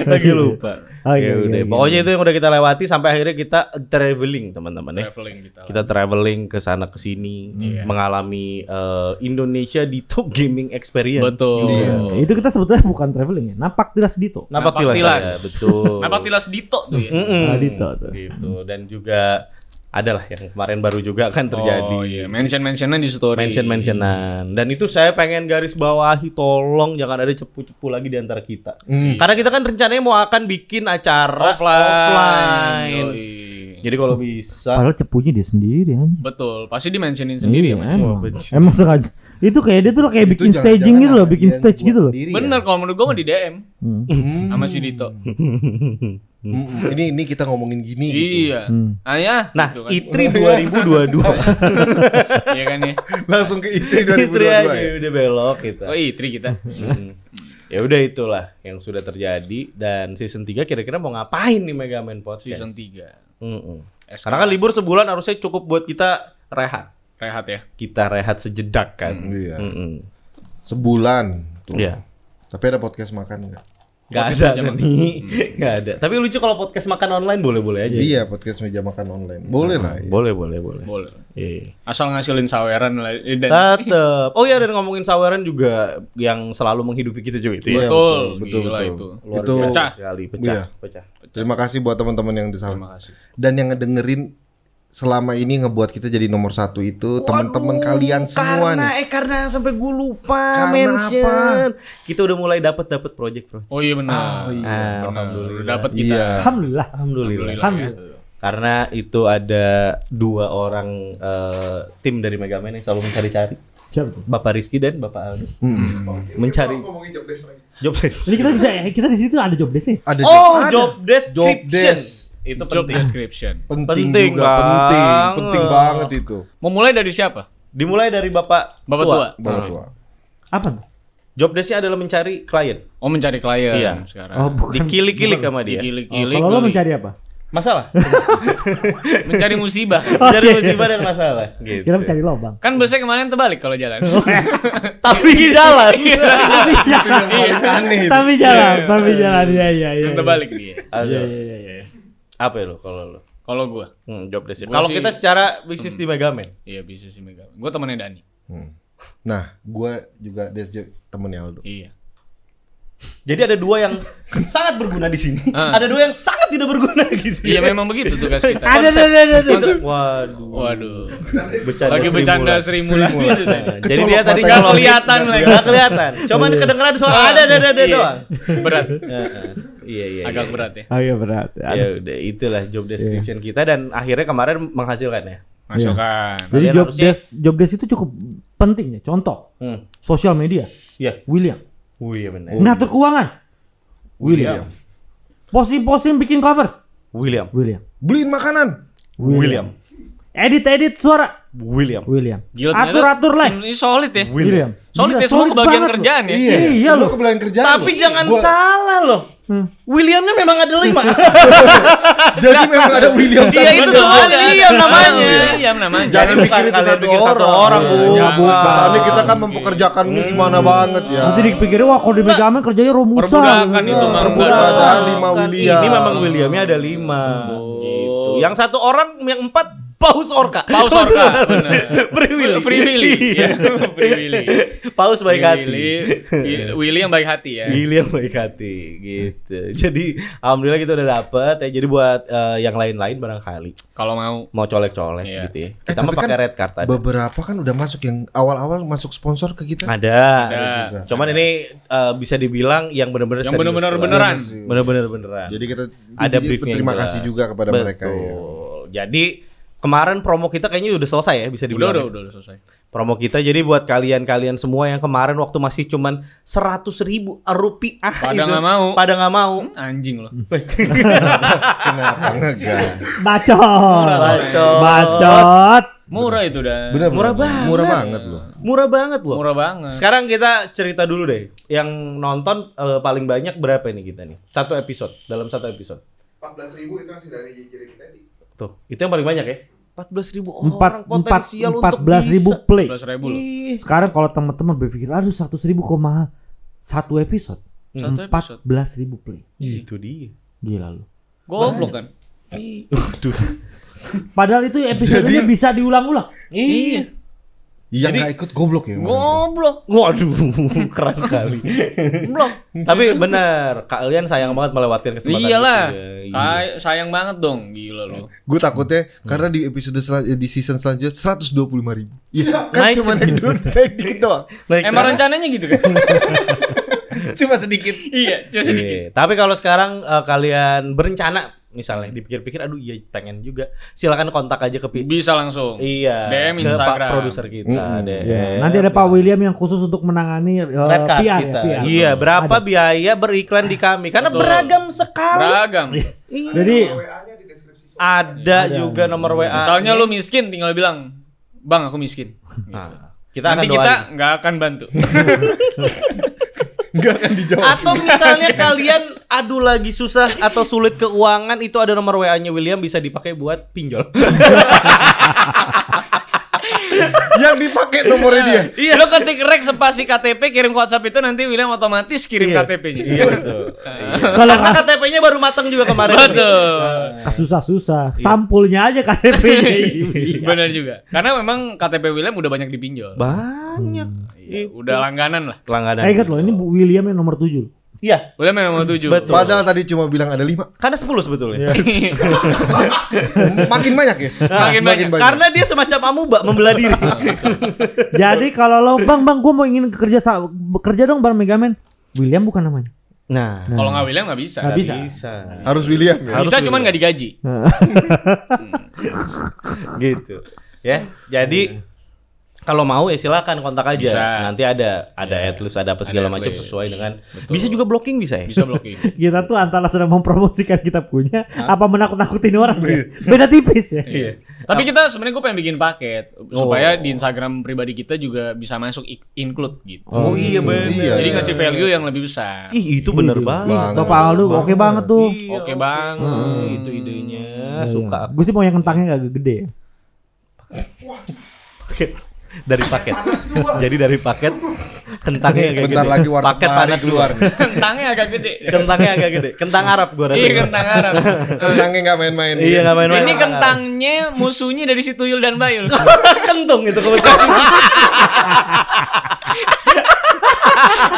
Lagi lupa. Oke, Ya oke, udah, oke. pokoknya itu yang udah kita lewati sampai akhirnya kita traveling teman-teman ya. Traveling kita. lah. Kita traveling ke sana ke sini mengalami eh, Indonesia di top gaming experience. Betul. juga. Iya, Itu kita sebetulnya bukan traveling ya. Napak tilas dito. Napak tilas. saya, betul. Napak tilas Dito tuh ya. Mm-mm. Nah, Dito tuh. Gitu dan juga adalah yang kemarin baru juga kan terjadi. Oh iya, mention-mentionan di story. mention-mentionan. Dan itu saya pengen garis bawahi tolong jangan ada cepu-cepu lagi di antara kita. Karena kita kan rencananya mau akan bikin acara Hmm. offline. offline. Ya. Yoi. Jadi kalau bisa Padahal cepunya dia sendiri anjing. Betul, pasti di-mentionin sendiri Iya, ya. Mas. emang. benci. emang sengaja. Itu kayak dia tuh kayak bikin staging gitu loh, bikin stage gitu loh. ya? Bener kalau menurut gua mah di DM Hmm. sama si Dito. Hmm. hmm, Ini ini kita ngomongin gini. Iya. Hmm. Ah ya, Nah, gitu kan. ITRI 2022. Iya kan ya. Langsung ke ITRI ITRI aja 2022 ya. udah belok kita. Oh, Itri kita. Hmm. Ya udah itulah yang sudah terjadi dan season 3 kira-kira mau ngapain nih Mega Man Podcast? Season 3. Mm-mm. Karena kan libur sebulan harusnya cukup buat kita rehat. rehat ya. Kita rehat sejedak kan. Iya. Hmm. Mm-mm. Sebulan tuh. Iya. Tapi ada podcast makan enggak? Podcast Gak ada meja kan makan. nih. Gak ada. Tapi lucu kalau podcast makan online boleh-boleh aja. Hmm. Iya, podcast meja makan online. Boleh lah. ya. Boleh, boleh, boleh. Boleh. Iya. Asal ngasilin saweran lah. Eh, Dan Tetep. Oh iya dan ngomongin saweran juga yang selalu menghidupi kita juga itu ya. Iya, betul, betul, gila betul. Luar Itu biasa Pecah. sekali, pecah, Iya. pecah. terima kasih buat teman-teman yang di sana. terima kasih. Dan yang ngedengerin selama ini ngebuat kita jadi nomor satu itu teman-teman kalian semua karena, nih. Eh karena sampai gue lupa Karena mention. Kita udah mulai dapat dapat project bro. Oh iya benar. Oh iya. Ah, Benar. alhamdulillah. Udah Dapat kita. Iya. Alhamdulillah. Alhamdulillah. Alhamdulillah. Alhamdulillah. Karena itu ada dua orang eh, tim dari Mega Man yang selalu mencari-cari. Siapa tuh? Bapak Rizky dan Bapak Aldo Hmm. mencari Ngomongin job desk lagi. job Jadi desk. kita bisa kita di situ ada job desk nih. Ada Oh, ada. job description. Job desk. Itu Job penting. description. penting, Penting juga penting banget. penting banget itu Memulai dari siapa? Dimulai dari Bapak Bapak tua. bapak tua Apa tuh? Job desk-nya adalah mencari klien. Oh mencari klien Iya. sekarang. Oh, bukan. Dikilik-kilik sama dia. Oh, Dikilik-kilik. kalau lo beli. mencari apa? Masalah. mencari musibah. Mencari musibah dan masalah gitu. Kita Iya, mencari lobang. Kan biasanya kemarin terbalik kalau jalan. Oh, iya. Tapi di jalan. Iya, tapi itu yang paling aneh itu. tapi jalan, tapi jalan. Iya iya iya. Yang terbalik dia. Iya Ada iya iya, iya. apa ya lo kalau lo? Kalau gua, Hmm, job desk. Gua Kalau sih- kita secara bisnis di Megaman. iya bisa sih Mega. Gua temennya Dani. Hmm. nah gue juga dia juga temennya Aldo Iya. Jadi ada dua yang sangat berguna di sini. Ah. Ada dua yang sangat tidak berguna gitu. Iya memang begitu tugas kita. Ada ada ada ada. Konsep. Waduh. Waduh. Bercanda Lagi Sri bercanda Mulat. Sri Mulat. Mulai. Jadi Kecolok dia tadi Iya. matanya. Gak kelihatan lagi. Gak kelihatan. Cuma kedengeran suara ada ada ada ada Iya. doang. Berat. Heeh. Iya iya. Agak iya. berat ya. Oh iya berat. Ya udah itulah job description kita dan akhirnya kemarin menghasilkan ya. Masukkan. Jadi Kalian job harusnya- desk job desk itu cukup penting ya. Contoh, Hmm. sosial media, Iya. William. Wih iya benar. Ngatur keuangan, William. Posting-posting bikin cover, William. William. beliin makanan William. Edit-edit suara, William. William. Gila, ternyata Atur-atur live, Ini solid ya. William. Solid Gila, ya semua kebagian banget kerjaan loh. ya. iya Iya, semua loh. kebelaan kerjaan Tapi loh. jangan Gua- salah loh. Williamnya memang ada lima. jadi memang ada William Iya, itu Betul, semua ada. William namanya. Ah, William namanya. Jangan Jadi bikin bukan itu kalian satu bikin satu orang. orang, Bu. Iya, Bu. Jangan. Kesannya kita kan mempekerjakan ini gimana banget ya. Iya. Nanti dipikirnya wah kalau di Megaman kerjanya romusa. Perbudakan gitu. itu, Mang. Perbudakan. Padahal lima Kan William. Ini memang Williamnya ada lima. Oh. Gitu. Yang satu orang, yang empat paus orka. Paus Orka, benar. Free Willy. Free Willy. Ya, Free Willy. paus Free baik hati. Iya. Willy. Willy- Willy yang baik hati ya. William baik hati gitu. Jadi alhamdulillah kita udah dapet ya. Jadi buat eh, yang lain-lain barangkali Kalau mau. mau colek-colek Iya. gitu ya. Eh, Kita mah tapi pakai kan red card aja. Beberapa kan udah masuk yang awal-awal masuk sponsor ke kita. Ada. Ada. Cuman ini eh, bisa dibilang yang benar-benar Yang benar-benar beneran. Benar-benar beneran. Iya Jadi kita Ada jadi briefnya. yang Terima jelas. kasih juga kepada Betul. mereka ya. Jadi kemarin promo kita kayaknya udah selesai ya Udah, bisa dibilang. udah, ya. udah, udah selesai. Promo kita jadi buat kalian-kalian semua yang kemarin waktu masih cuman 100.000 ribu rupiah Pada itu, nggak mau. Hmm. Pada nggak mau. Anjing loh. Kenapa enggak? Bacot. Bacot. Bacot. Murah itu dan Bener, Murah bener. banget. Murah banget loh. Murah banget loh. Murah banget. Sekarang kita cerita dulu deh. Yang nonton eh, paling banyak berapa nih kita nih? Satu episode, dalam satu episode. 14 ribu itu masih dari jadi tadi. Tuh, itu yang paling banyak ya. 14.000 ribu orang Empat empat potensial empat untuk belas ribu bisa. play. 11 ribu loh. Ih, Sekarang kalau teman-teman berpikir, aduh seratus ribu kok mahal, satu episode Satu empat episode. belas ribu play. Iya. Itu dia. Gila lu. Goblok kan. Ih, Waduh. Padahal itu episodenya bisa diulang-ulang. Iya. Yang Jadi- nggak ikut goblok ya. Goblok. Waduh, keras sekali. Goblok. Tapi benar, kalian sayang banget melewatkan kesempatan Iyalah. itu ya. Iya. Say- sayang banget dong, gila loh. Gue takutnya Hmm. karena di episode sel- di season selanjutnya 125 ribu. Iya, kan Naik cuma naik, sedikit. dua- naik dikit doang. Naik Emang sana. rencananya gitu kan? Cuma sedikit. iya, cuma sedikit. Iya. Tapi kalau sekarang eh, kalian berencana misalnya dipikir-pikir aduh iya pengen juga. Silakan kontak aja ke pi- Bisa langsung. Iya, DM ke Pak Instagram. produser kita Mm-mm. deh. Ya, nanti ada Pak William yang khusus untuk menangani eh, Red card PR, Iya. kita. ya, PR. Iya, berapa Ada. biaya beriklan di kami? Karena Betul. beragam sekali. Beragam. Iya. Jadi WA-nya di deskripsi. soal. ada Ada. juga nomor WA. Misalnya lu miskin tinggal bilang, "Bang, aku miskin." Nah, kita Nanti akan kita doain. nggak akan bantu. Enggak akan dijawab. Atau misalnya kalian aduh lagi susah atau sulit keuangan itu ada nomor WA-nya William bisa dipakai buat pinjol. Yang dipakai nomornya dia. Iya. Lo ketik rek spasi KTP kirim ke WhatsApp itu nanti William otomatis kirim KTP-nya. Iya betul. Kalau Iya. Karena KTP-nya baru matang juga kemarin. Betul. susah-susah, sampulnya aja kan Iya. KTP-nya. Benar juga. Karena memang KTP William udah banyak dipinjol. Banyak. Iya, udah langganan lah. Langganan. Hmm. Eh, ingat loh, ini Bu William yang nomor 7. Iya, William memang tujuh. Betul. Padahal tadi cuma bilang ada lima. karena 10 sebetulnya. Iya. Makin banyak ya. Makin banyak. Karena dia semacam amuba membelah diri. Jadi kalau lo, Bang, Bang, gue mau ingin kerja sa- kerja dong bareng Megaman. William bukan namanya. nah, Kalau nggak William nggak bisa. Nggak bisa. harus William ya. Harus Bisa cuman William. nggak digaji. gitu. Ya, jadi kalau mau ya silakan kontak aja. Iya. Bisa. Iya. Nanti ada ada adlibs, ada apa Ada segala macam adlibs. sesuai dengan. Betul. Bisa juga blocking bisa ya? Bisa blocking. Kita tuh antara sedang mempromosikan kita punya, apa menakut-nakutin orang. ya? Beda tipis ya. Iya. Tapi kita sebenarnya gue pengen bikin paket supaya di Instagram pribadi kita juga bisa masuk ik- include gitu. Oh, iya benar. Jadi Iya, iya. ngasih value yang lebih besar. Ih, itu bener banget. Tuh Pak Aldo Banget. oke banget tuh. Iya, Oke banget. Hmm, itu Iya, idenya suka aku. Gue sih mau yang kentangnya gak gede ya. dari paket. Jadi dari paket kentangnya agak Bentar gede. lagi gitu warteg ya. paket mari panas keluar. nih. Kentangnya agak gede. Kentangnya agak gede. Kentang Arab gua rasa. Iya kentang Arab. Kentangnya nggak main-main. Iya, nggak main-main. Ini kentangnya musuhnya dari si Tuyul dan Bayul. kentung itu kebetulan.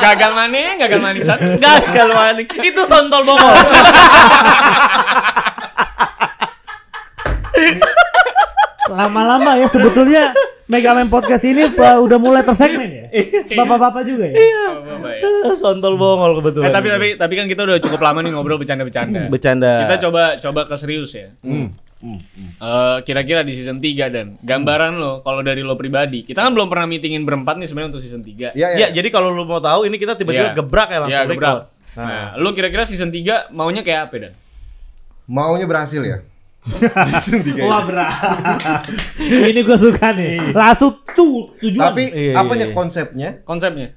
Gagal maning, gagal maning satu. Gagal maning. Itu sontol bongol. Lama-lama ya sebetulnya Megaman Podcast ini Pak, udah mulai tersegmen ya. Bapak-bapak juga ya. Oh, baik. sontol bongol kebetulan. Eh, tapi tapi tapi kan kita udah cukup lama nih ngobrol bercanda-bercanda. bercanda. Kita coba coba ke serius ya. Hmm. Hmm. Eh, kira-kira di season 3 dan gambaran Hmm. lo kalau dari lo pribadi. Kita kan belum pernah meetingin berempat nih sebenarnya untuk season 3. Iya, iya. Ya, jadi kalau lu mau tahu ini kita tiba-tiba Iya. gebrak ya langsung Iya, gebrak. record. Nah, lo kira-kira season 3 maunya kayak apa dan? Maunya berhasil ya. Wah berat. ini gue suka nih. Langsung tuh tujuan. Tapi Iya, iya, apanya iya. konsepnya Konsepnya?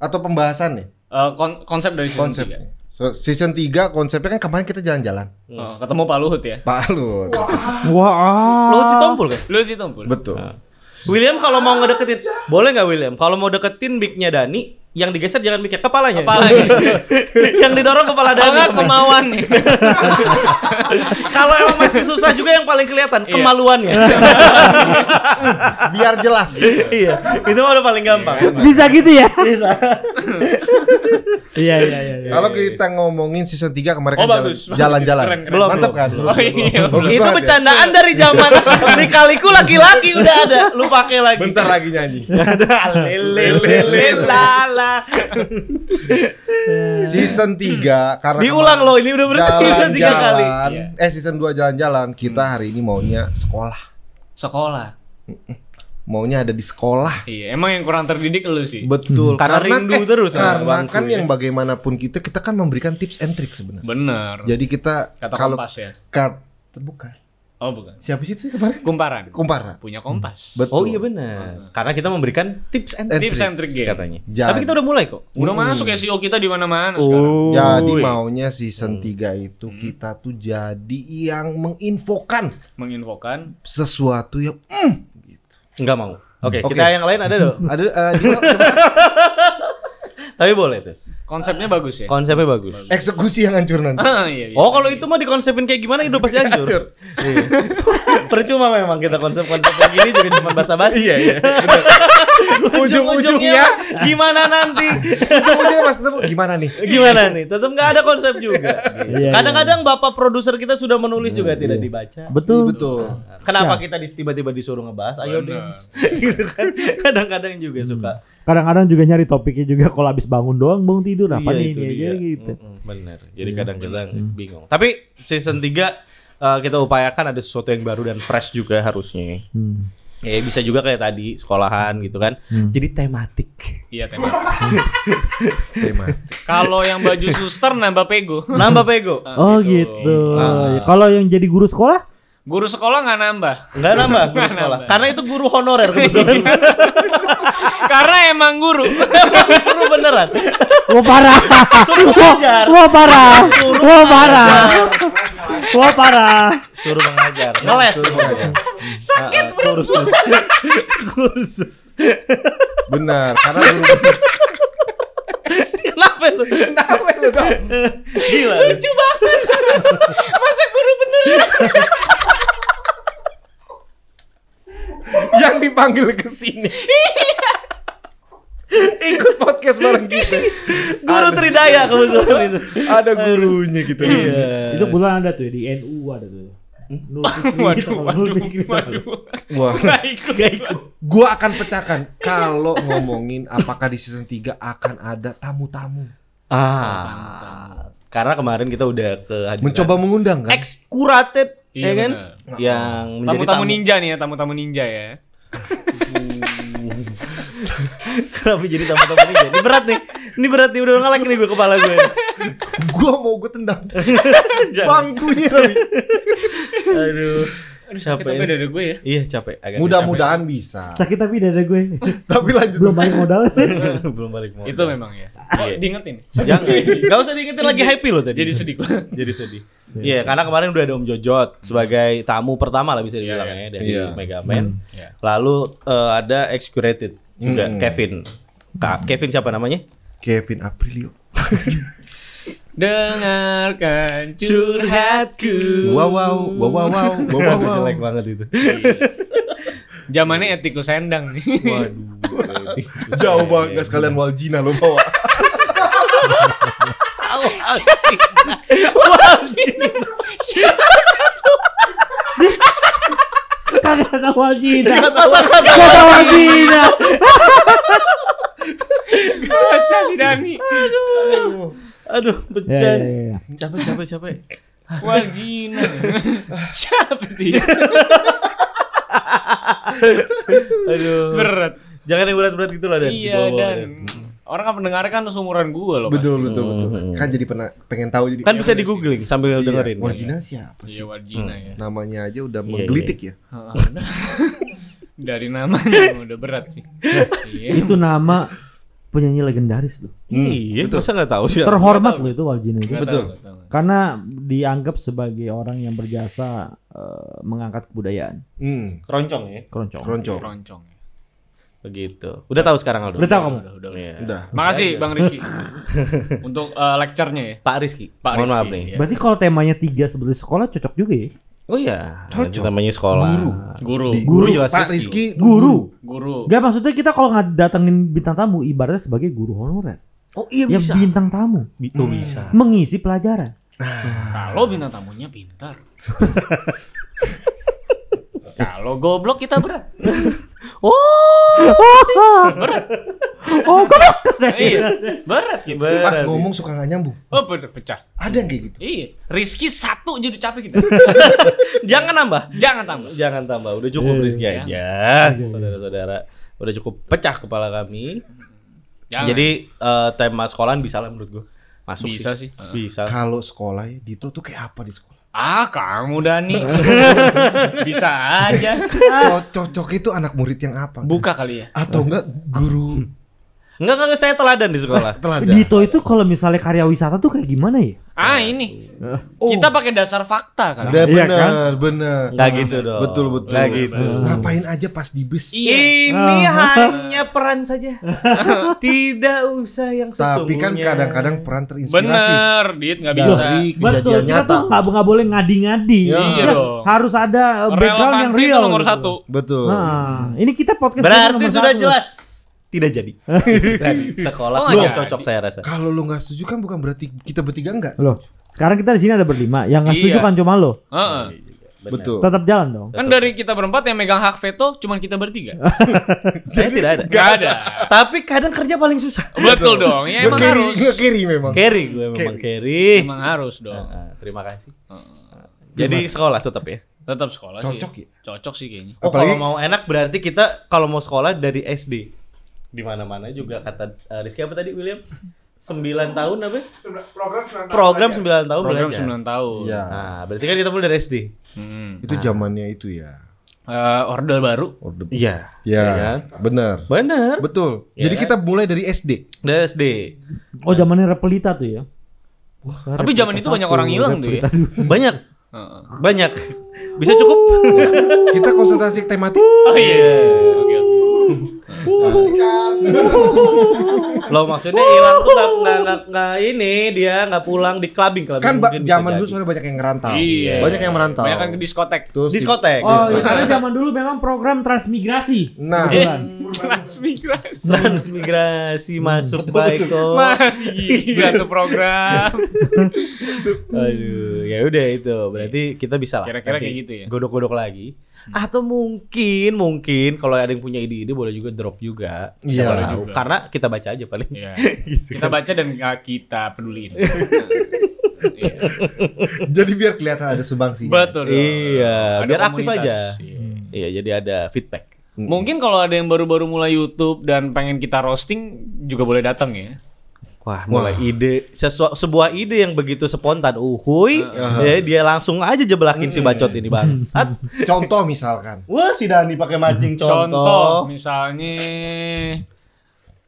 atau pembahasannya? Eh, kon- konsep dari season Konsepnya. So, season 3 konsepnya kan kemarin kita jalan-jalan. 3. Oh, ketemu Pak Luhut ya. Pak Lut. Wah. ah. Lu si tompul kan? Luhut sih tumpul. Betul. Ah. William kalau mau ngedeketin, boleh nggak William? Kalau mau deketin mic-nya Dani, yang digeser jangan mic-nya, kepalanya. Kepalanya. yang didorong kepala Dani. Kalau kemauan nih. Kalau emang masih susah juga yang paling kelihatan Iya. kemaluannya. Biar jelas. iya, itu mah udah paling gampang. Bisa gitu ya? Bisa. Iya iya iya. iya. Kalau kita ngomongin season 3 kemarin Oh, kan jalan- bagus, bagus. jalan-jalan. Keren, keren. Belum, Mantap belum. kan? Oh, iya, belum. Bagus itu banget ya. bercandaan dari zaman dikaliku laki-laki udah ada. Lu pakai lagi. Bentar lagi nyanyi. Ada lele lele lala. Season 3 karena Diulang kemarin loh, ini udah berarti udah tiga kali. jalan-jalan. Iya. Eh season 2 jalan-jalan, Hmm. kita hari ini maunya sekolah. Sekolah. Maunya ada di sekolah. Iya, emang yang kurang terdidik lu sih. Betul. Karena rindu terus sama Karena bangku, kan ya. yang bagaimanapun kita kita kan memberikan tips and trick sebenarnya. Bener. Jadi kita Kata kalau kompas ya. kat terbuka. Oh bukan. Siapa sih itu kemarin? Kumparan. Kumpara. Punya Kompas. Betul. Oh iya benar. Karena kita memberikan tips and And tricks Tips and trick game. katanya. Jangan. Tapi kita udah mulai kok. Udah masuk SEO kita di mana-mana sekarang. Jadi Uy. maunya season Hmm. 3 itu kita tuh jadi yang menginfokan Menginfokan. sesuatu yang mm, gitu. Enggak mau. Oke, Oke. kita yang lain ada dong. Ada eh, di- Tapi boleh tuh. Konsepnya bagus ya. Konsepnya bagus. eksekusi yang hancur nanti. Ah, iya, iya. Oh, kalau itu mah dikonsepin kayak gimana itu pasti hancur. Iya. Percuma memang kita konsep-konsep kayak gini juga cuma basa-basi. Iya, iya. Ujung-ujungnya gimana nanti? ujung-ujungnya Mas Temu gimana nih? Gimana nih? Tetap nggak ada konsep juga. Iya, Kadang-kadang bapak produser kita sudah menulis juga tidak dibaca. Betul. Betul. Ya. Kenapa kita di- tiba-tiba disuruh ngebahas? Ayo Benar. dance. gitu kan. Kadang-kadang juga suka. Hmm. Kadang-kadang juga nyari topiknya juga kalau habis bangun doang bangun tidur Iya, apa nih itu ini aja dia. gitu. Hmm. Mm-mm, bener. Jadi kadang-kadang bingung. Tapi season 3 kita upayakan ada sesuatu yang baru dan fresh juga harusnya. Hmm. Ya bisa juga kayak tadi sekolahan gitu kan. Jadi tematik. Iya tema. Tema. Kalau yang baju suster nambah pego. Nambah pego. Ah, Oh gitu. Ah. Kalau yang jadi guru sekolah? Guru sekolah nggak nambah. Enggak nambah Iya. guru Nggak sekolah. nambah. Karena itu guru honorer kebetulan. Karena emang guru. guru beneran. Wah parah. Suruh Wah- ngajar. Wah parah. Suruh Wah parah. mengajar. Wah parah. Suruh mengajar. Ngeles. Sakit kursus. kursus. Benar, karena guru Kenapa lu? Kenapa lu dong? Gila. lu. Masa guru bener? yang dipanggil ke sini. Ikut podcast bareng kita. Guru Tridaya kebetulan itu. Ada gurunya gitu. Iya. Iya. Itu kebetulan ada tuh ya, di NU ada tuh. Nul Fikri Waduh, kita kalau nul waduh, Fikri kita kalau. waduh. Wah, Nggak ikut. gua akan pecahkan kalau ngomongin apakah di season 3 akan ada tamu-tamu. Ah. Karena kemarin kita udah ke Mencoba mengundang kan? excurated Iya, ya kan? benar. Yang menjadi Tamu-tamu ninja nih ya, tamu-tamu ninja ya. Kenapa jadi tamu-tamu ninja? Ini berat nih. Ini berat nih udah ngaleng nih gue kepala gue. Gua mau gue tendang Jangan. bangkunya tadi. Aduh. Capek. Tapi ini. dari gue ya. Iya capek. Agak Mudah-mudahan bisa. Sakit tapi dada gue. Tapi lanjut. Belum banyak modal. capek. Belum balik modal. Itu memang ya. Iya. Diingetin. Jangan. Gak usah diingetin lagi happy loh tadi. Jadi sedih gue. Jadi sedih. Iya, karena kemarin udah ada Om Jojot sebagai tamu pertama lah bisa dibilang Iya, ya dari Iya. Megaman. Iya. Lalu eh, ada Excurated juga Hmm. Kevin. Kak Kevin siapa namanya? Kevin Aprilio. Dengarkan curhatku. Wow wow wow wow wow wow Aduh, wow. jelek banget itu. Zamannya etiku sendang nih. Waduh. Iya, Jauh banget nggak sekalian Waljina lo bawa. Kagak tahu Waljina. Masa Kagak tahu Waljina. Baca si Dani. Aduh, Ya, ya, bencana. Iya, ya, ya. Capek, capek, capek. Waljina. Siapa dia? Aduh. Berat. Jangan yang berat-berat gitu lah dan. Iya dan orang kan pendengar kan seumuran gue loh. Betul pasti. betul betul. Kan jadi pernah pengen tahu jadi. Hmm. Kan bisa di googling sambil Iya, dengerin. Waljina siapa sih? Iya Waljina ya. Namanya aja udah Iya, menggelitik ya. Heeh. Dari namanya udah berat sih. Iya. Itu nama penyanyi legendaris loh. Iya, masa nggak tahu sih? Terhormat loh itu Waljina Nggak itu. tahu, betul. nggak tahu. Karena dianggap sebagai orang yang berjasa eh, mengangkat kebudayaan. Hmm, Keroncong ya. Keroncong. kroncong. Keroncong. ya. Begitu. Udah tahu sekarang Aldo. Udah tahu kamu? Udah, udah, udah. Iya. Udah. Makasih Bang Rizky untuk eh, lecture-nya ya. Pak Rizky. Pak Mohon Rizky, maaf nih. iya. Berarti kalau temanya tiga sebelum sekolah cocok juga ya? Oh iya, Cocok. itu namanya sekolah. Guru. Guru, Di- Guru jelas Pak Rizky. Rizky Guru. guru. Gak maksudnya kita kalau nggak datengin bintang tamu ibaratnya sebagai guru honorer. Oh iya Ya bisa. bintang tamu Bi- oh, bisa. mengisi pelajaran. Kalau bintang tamunya pintar. Kalau goblok kita berat. Oh, Berat. oh, goblok. iya, berat. gitu. Pas Berat. ngomong suka nggak nyambung. Oh, bener, pecah. Ada yang kayak gitu. Iya, Rizky satu jadi capek kita. Jangan nambah. Jangan tambah. Jangan tambah. Udah cukup Iya. Rizky Jangan. aja. Saudara-saudara, udah cukup pecah kepala kami. Jangan. Jadi eh, tema sekolahan bisa lah menurut gua. Masuk Bisa sih. Bisa. Kalau sekolah ya, Dito tuh kayak apa di sekolah? Ah, kamu Dani. Bisa aja. Ah. Co- Cocok itu anak murid yang apa? Buka kali ya. Atau enggak guru Enggak enggak saya teladan Hmm. di sekolah. teladan? Dito itu kalau misalnya karya wisata tuh kayak gimana ya? Ah, ini. Oh. Kita pakai dasar fakta kali. Udah Iya bener, kan? bener. Enggak gitu dong. Nah, Betul betul. Enggak gitu. Iya. Ngapain aja pas di bis? Iya. Iya. Ini hanya peran saja. Tidak usah yang sesungguhnya. Iya. Tapi kan kadang-kadang peran terinspirasi Bener, Dit nggak Iya. bisa. dari Betul, kejadian kita tuh nyata. nggak nggak boleh ngadi-ngadi. Iya. Kita Iya dong. Harus ada uh, background yang Relevansi real. itu nomor gitu. satu. Betul. Nah, ini kita podcast Berarti nomor sudah satu. jelas. Tidak jadi. Tadi sekolah Oh, belum nggak cocok jadi. saya rasa. Kalau lu nggak setuju kan bukan berarti kita bertiga enggak. Loh, sekarang kita di sini ada berlima. Yang nggak Iya. setuju kan cuma lo. Heeh. Betul. Tetap jalan dong. Kan dari kita berempat yang megang hak veto cuman kita bertiga. Saya tidak ada. Gak ada. Tapi kadang kerja paling susah. Betul dong. Ya emang Nge-carry- harus. nge-carry memang. Carry gue memang carry. Emang harus dong. Nah, terima kasih. Jadi sekolah tetap ya. Tetap sekolah sih. Cocok ya? Cocok sih kayaknya. Oh, kalau Apalagi- mau enak berarti kita kalau mau sekolah dari SD di mana-mana juga kata eh, Rizky apa tadi William? 9 tahun apa? Sembilan- Program 9 Program 9 tahun Program belajar. 9 tahun. Iya. Nah, berarti kan kita mulai dari SD. Hmm. Itu Nah. zamannya itu ya. Eh, order baru. Orde. Iya. Ya, Iya kan? benar. Bener. Betul. Iya Jadi kan? kita mulai dari SD. Dari SD. Oh, zamannya Repelita tuh ya. Wah, Iya. Tapi zaman itu banyak orang hilang tuh ya. Banyak, Heeh. banyak. Bisa cukup. Kita konsentrasi ke tematik. Oh iya. Oke, oke. Loh maksudnya hilang tuh nggak nggak nggak- nggak ini dia nggak pulang di clubbing clubbing. Kan ba- mungkin bisa zaman dulu jadi. soalnya banyak yang ngerantau. Iya. Banyak yang merantau. Banyak kan ke diskotek. Terus di- diskotek. Oh, iya, diskotek. karena zaman dulu memang program transmigrasi. kan? Nah, Eh, Iya. transmigrasi. Transmigrasi masuk baik kok. Masih gila tuh iya. program. Aduh, ya udah itu. Berarti kita bisa lah. Kira-kira nanti kayak gitu ya? Hmm. Godok-godok lagi. Atau mungkin mungkin kalau ada yang punya ide-ide boleh juga drop juga. Iya. Siapa tahu. Karena kita baca aja paling. Iya. Kita baca dan gak kita peduliin. Iya. jadi biar kelihatan ada sumbangsinya. Betul. dong. Iya, Ada biar aktif komunitas. aja. Iya. Iya, jadi ada feedback. Mungkin kalau ada yang baru-baru mulai YouTube dan pengen kita roasting juga boleh datang ya. Wah, mulai ide sesua- sebuah ide yang begitu spontan. Uhuy, ya, dia langsung aja jeblakin si bacot ini bangsat. Contoh misalkan. Wah, si Dani pakai mancing Contoh, contoh. misalnya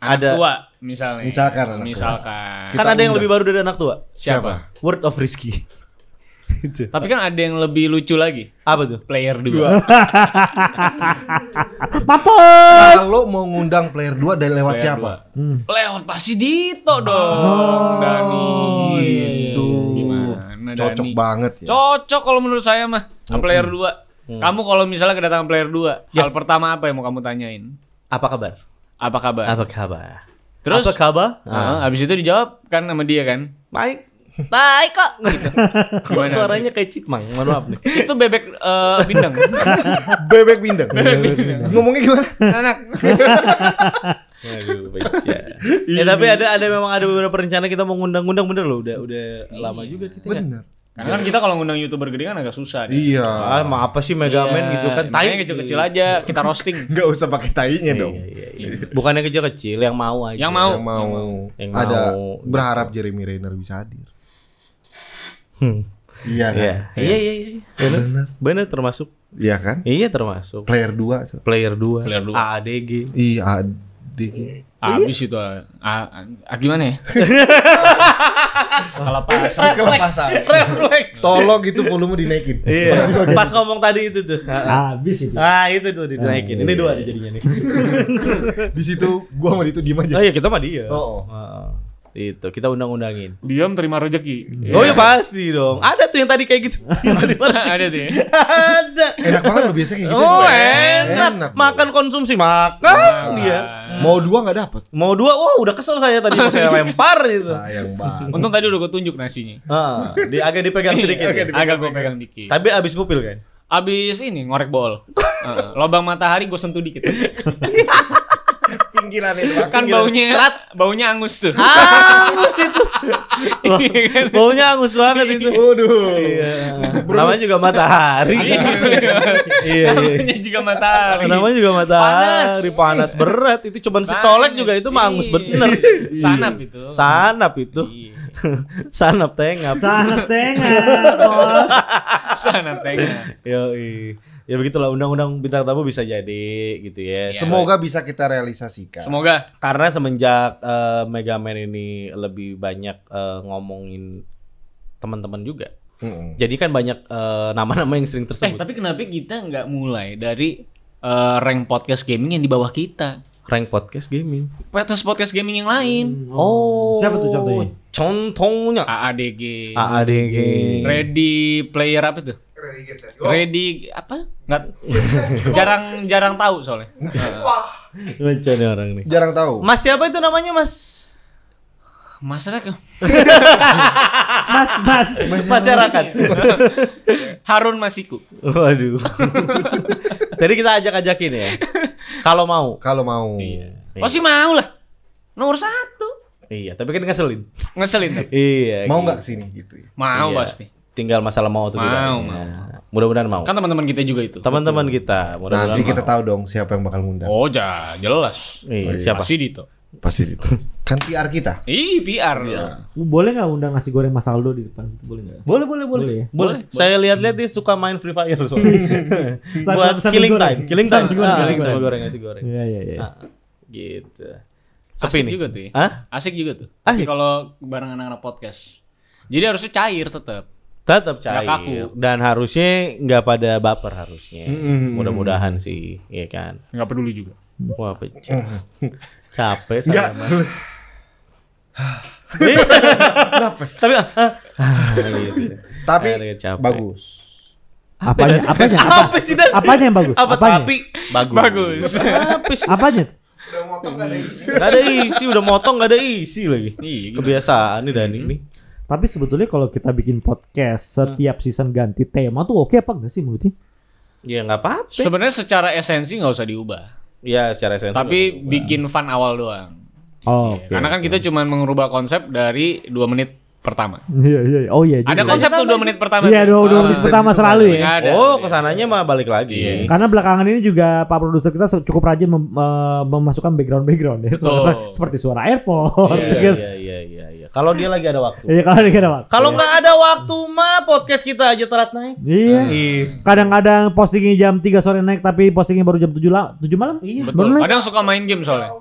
ada Ada- tua misalnya. Misalkan anak tua. Misalkan. Kan Kita ada yang undang. lebih baru dari anak tua. Siapa? Word of Rizky. Itu. Tapi kan ada yang lebih lucu lagi. Apa tuh? Player dua. Papa. Kalau mau ngundang player 2 dari lewat Player siapa? Leon pasti Dito dong. Dani. Ah, Iya, Gitu. Gimana, Cocok Dani? banget ya. Cocok kalau menurut saya mah. Player 2. Hmm. Kamu kalau misalnya kedatangan player 2, Ya. hal pertama apa yang mau kamu tanyain? Apa kabar? Apa kabar? Apa Ah. kabar? Terus apa kabar? Heeh, habis itu dijawab kan sama dia kan. Baik. Baik kok gitu. Kok Gimana? suaranya kayak Cikmang? Mohon maaf nih. Itu bebek eh, bintang. Bebek bindeng. Ngomongnya gimana? Anak. Aduh, beja. ya tapi ada ada memang ada beberapa rencana kita mau ngundang-ngundang bener loh. Udah udah lama juga kita. ya. nggak- Benar. Karena kan kita kalau ngundang YouTuber gede kan agak susah. deh. Iya. Ah, emang apa sih Megaman gitu kan? Makanya kecil-kecil aja kita roasting. Enggak usah pakai tainya dong. Iya, iya, iya. Bukan yang kecil-kecil, Iya, yang mau aja. Yang mau. Yang mau. Yang ada mau. berharap Jeremy Renner bisa hadir. Hmm. Iya kan? Iya, iya, iya. iya. Bener. Benar. Bener termasuk. Iya kan? Iya termasuk. Player 2 so. Player 2. Player dua. ADG. Iya, adik. Abis itu ah, ah, ah, gimana ya? Kalau pas Kelepasan. Tolong itu volume dinaikin. Iya. Pas ngomong tadi itu tuh. Habis itu. Ah, itu tuh dinaikin. Ini dua nih jadinya nih. Di situ gua sama Dito diem aja. Oh iya, kita mah dia. Oh, oh. Heeh. Itu kita undang-undangin. diam terima rejeki. Oh iya pasti dong. Ada tuh yang tadi kayak gitu. Yang tadi mana? Ada tuh. ya. Ada. Enak banget lo biasanya kayak gitu. Oh Bro. enak. Bro. Makan konsumsi makan dia. Ah. Mau dua nggak dapet. Mau dua, wah udah kesel saya tadi mau saya lempar gitu. Sayang banget. Untung tadi udah gue tunjuk nasinya. Iya, Ah, di agak dipegang sedikit. ya. Agak gue pegang dikit. Tapi abis ngupil kan. Ah, Abis ini ngorek bol. Heeh, lobang matahari gue sentuh dikit. pinggiran itu Bang. Kan baunya baunya angus tuh. Ah. Angus itu. Iya kan? Baunya angus banget itu. Waduh. Iya. Namanya juga matahari. Iya, iya. Namanya juga matahari. Namanya juga matahari panas, berat itu cuman secolek juga itu mah angus bener. Iya. Iya. Sanap itu. Sanap itu. Iya. Sanap tengap. Sangat tengah, bos. Sanap tengah. Yoi. Ya begitulah undang-undang bintang tamu bisa jadi gitu ya. Iya. Semoga bisa kita realisasikan. Semoga Karena semenjak eh, Mega Man ini lebih banyak eh, ngomongin teman-teman juga. Mm-mm. Jadi kan banyak eh, nama-nama yang sering Eh, tersebut. tapi kenapa kita nggak mulai dari eh, rank podcast gaming yang di bawah kita? Rank podcast gaming. Podcast podcast gaming yang lain. Oh. Ah, Siapa tuh contohnya? Ah, iya, Contohnya AADG. AADG. Ready player apa itu? Renegade tadi. Oh, Ready apa? Nggak jarang jarang tahu soalnya. Eh, Macam nih orang nih. Jarang tahu. Mas siapa itu namanya Mas? Masalah ke- Mas, mas. Masyarakat. Iya. Harun Masiku. Waduh. Jadi kita ajak-ajakin ya. Kalau mau. Kalau mau. Oh sih mau lah. Nomor satu. Iya, tapi kan ngeselin. Ngeselin tapi. Iya. Mau gitu. nggak sini gitu ya? Mau Iya. pasti. Tinggal masalah mau atau Mau, tidak. mau. Ya. Mudah-mudahan mau. Kan teman-teman kita juga itu. Teman-teman kita, mudah-mudahan Nanti mau. kita Nah, tahu dong siapa yang bakal ngundang. Oh, ja, jelas. Iya, siapa? Pasti Dito. Pasti itu. Kan PR kita. Ih, PR. Boleh nggak undang nasi goreng Mas Aldo di depan? situ? Boleh nggak? Boleh, boleh, boleh. Boleh ya? Boleh. Saya lihat-lihat dia suka main Free Fire soalnya. Buat Sambil killing goreng. time, killing time. Sambil goreng, Ah, sambil sama goreng. goreng, nasi goreng. Iya, iya, iya. Ah, gitu. Sepi Asik nih. juga tuh. ya. Hah? Asik juga tuh. Asik. Asik. Kalau bareng anak-anak podcast. Jadi harusnya cair tetap. Tetap Nggak cair kaku. dan harusnya nggak pada baper harusnya. Mm-mm. Mudah-mudahan sih, iya kan. Nggak peduli juga. Wah pecah. Capek Enggak. saya mas. Ih, Nafas. Tapi ah, ah, ah, gitu. Tapi Akhirnya capek. bagus. Apanya, apanya, Ah, Apa sih dan? apanya yang bagus? Apa apanya? tapi bagus. Bagus. Apa sih? Apanya? udah motong gak ada isi. Gak ada isi, udah motong gak ada isi lagi. Iya, gila. Mm-hmm. Kebiasaan nih Dani nih. Tapi sebetulnya kalau kita bikin podcast setiap Hmm. season ganti tema tuh oke apa enggak sih menurutnya? Ya nggak apa-apa. Sebenarnya secara esensi nggak usah diubah. Ya secara esensi. Tapi nggak bikin fun awal doang. Oh, oke. Karena kan kita cuma mengubah konsep dari dua menit pertama. Iya, iya. iya. Oh iya. Ada juga. konsep tuh dua menit pertama. Iya, dua, dua Ah. menit pertama selalu ya. Nggak apa-apa. ada. Oh, kesananya mah balik lagi. Iya. Karena belakangan ini juga Pak produser kita cukup rajin mem- eh, memasukkan background-background ya. Betul. Suara- seperti suara airport Iya, gitu. iya, iya, iya, iya. Kalau dia lagi ada waktu. Iya, kalau dikira Pak. Kalau nggak ada waktu mah podcast kita aja terat naik. Iya. Iya. Kadang-kadang postingnya jam 3 sore naik tapi postingnya baru jam 7 la- 7 malam. Iya. Betul. Kadang suka main game soalnya.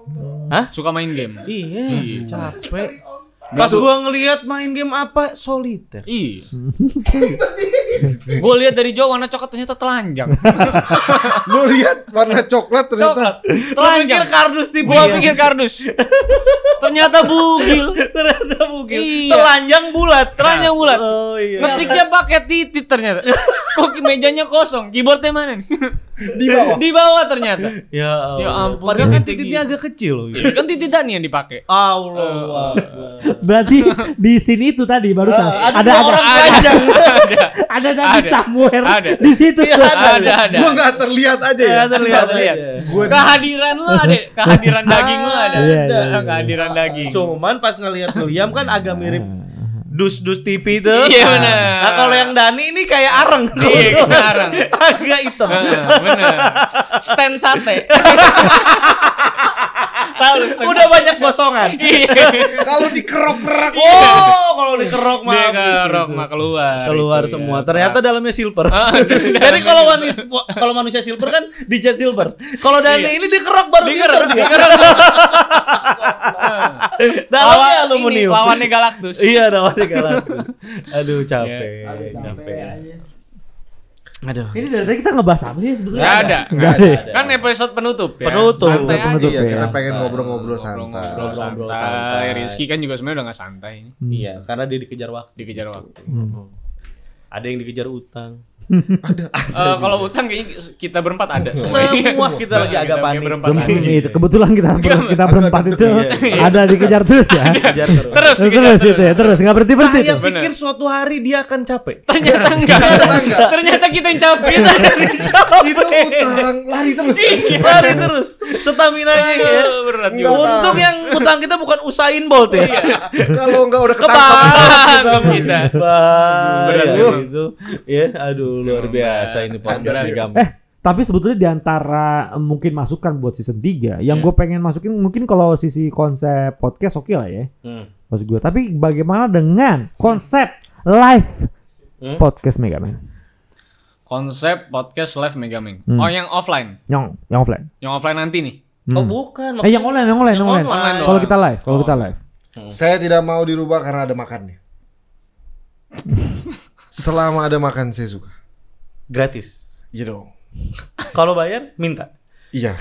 Hah? Suka main game. Iya, Iya. capek. Pas gua ngelihat main game apa soliter. Iya. Gue lihat dari jauh warna coklat ternyata telanjang. Lu lihat warna coklat ternyata Coklat, Lu pikir telanjang. Iya. kardus di Gua bawah pikir kardus. Ternyata bugil. ternyata mungkin Iya. telanjang bulat. Telanjang bulat. Oh iya. Ngetiknya pakai titik ternyata. Kok mejanya kosong? Keyboardnya mana nih? di bawah. Di bawah ternyata. Ya, Ya ampun, Padahal kan titiknya. titiknya agak kecil loh. gitu. Iya, kan titik Dani yang dipakai. Allah. Berarti di sini itu tadi barusan ada ada Eh, dua orang ada telanjang. Ada. ada Nabi Ada. Samuel Ada. di situ Iya, tuh. Ada ada. Gua nggak terlihat aja ya. Ya, terlihat Terlihat. aja. Kehadiran lo ada, kehadiran daging lo ada. Iya, iya, iya. Kehadiran daging. Cuman pas ngelihat William kan agak mirip dus-dus TV itu. Iya, benar. Nah, kalau yang Dani ini kayak areng. Iya, kayak areng. agak hitam. Heeh, bener. Stand sate. Tahu lu stand Udah sate? banyak gosongan. Iya. Kalau dikerok-kerok. Oh, kalau dikerok mah Dia habis kerok itu. mah keluar. keluar itu, semua. ya. Ternyata dalamnya silver. Ah, Jadi kalau manusia kalau manusia silver kan dicat silver. Kalau Iya. Dani ini dikerok baru Dia silver kerok, dia. dia kerok. Dalamnya Lawan Ah. ini, aluminium. Lawannya Galactus. Iya, dalamnya Galactus. Aduh, capek. Iya, capek. Aduh. Ini dari tadi kita ngebahas apa sih sebetulnya? Nah, Nggak ada, Nggak nggak ada. ada. Kan episode penutup ya. Penutup. Santai aja. Penutup. Iya, kita Ya. pengen ngobrol-ngobrol Ngobrol-ngobrol santai. Ngobrol-ngobrol santai. santai. Hmm. Rizky kan juga sebenarnya udah nggak santai Iya, karena dia dikejar waktu. dikejar waktu. ada yang dikejar utang. Eh, kalau utang kayaknya kita berempat ada. Semua kita lagi agak Kita panik. berempat Semua. ada. Semua itu kebetulan kita ber- kita berempat itu Iya, iya. ada dikejar terus ya. Dikejar terus. Terus, dikejar terus itu ya, terus nggak berhenti berhenti Saya itu. Bener. pikir suatu hari dia akan capek. Ternyata enggak. Ternyata kita yang capek. Itu utang lari terus. Lari terus. Stamina nya ya. Iya. Aduh, Berat juga. Enggak. Untung yang utang kita bukan Usain Bolt ya. Kalau enggak udah ketangkap. Kebal Ketangkap Iya, kita. Berat Berat ya, memang. gitu. Ya, aduh luar Memang biasa ini podcast Berat. di Gam. Eh, tapi sebetulnya di antara eh, mungkin masukan buat season 3 Iya. yang gue pengen masukin mungkin kalau sisi konsep podcast oke lah ya. Hmm. Maksud gue, tapi bagaimana dengan konsep live Hmm. podcast Megaman? Konsep podcast live Megaming. Hmm. Oh, yang offline. Yang yang offline. Yang offline nanti nih. Hmm. Oh bukan. Eh, yang online, yang online, yang online. online Kalau doang. kita live, kalau Oh. kita live. Saya tidak mau dirubah karena ada makannya. Selama ada makan saya suka. Gratis. Iya dong. Kalau bayar minta. Iya,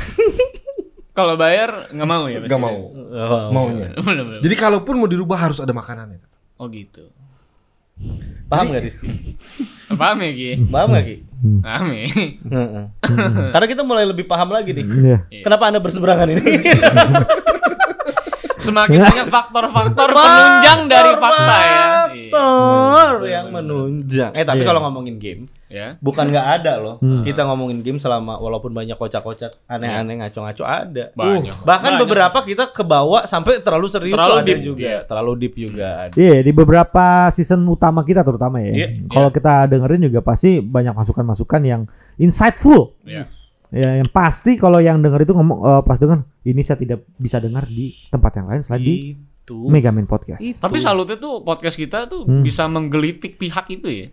Kalau bayar nggak mau ya? nggak pasti? mau. Oh, Hmm. Maunya. Bener-bener. Jadi kalaupun mau dirubah harus ada ya. makanannya. Oh gitu. Paham nggak Rizky? Paham ya Ki? Paham nggak Ki? Hmm. Paham ya. Heeh. Karena kita mulai lebih paham lagi nih. Iya. Kenapa anda berseberangan ini? Semakin banyak faktor-faktor penunjang dari fakta ya. Iya. Faktor yang menunjang. Eh tapi kalau ngomongin game, Ya. bukan nggak ada loh. Kita ngomongin game selama walaupun banyak kocak-kocak, aneh-aneh ngaco-ngaco ada. Banyak. Uh, bahkan Banyak. beberapa kita kebawa sampai terlalu serius Terlalu tuh ada deep, juga, Hmm. iya. terlalu deep juga ada. Iya, di beberapa season utama kita terutama ya. Iya. Kalau kita dengerin juga pasti banyak masukan-masukan yang insightful. Ya. Ya, yang pasti kalau yang denger itu ngomong eh, pas denger ini saya tidak bisa dengar di tempat yang lain selain di Itu. Megaman Podcast. Itu. Tapi salutnya tuh podcast kita tuh Gitu. Hmm. bisa menggelitik pihak itu ya.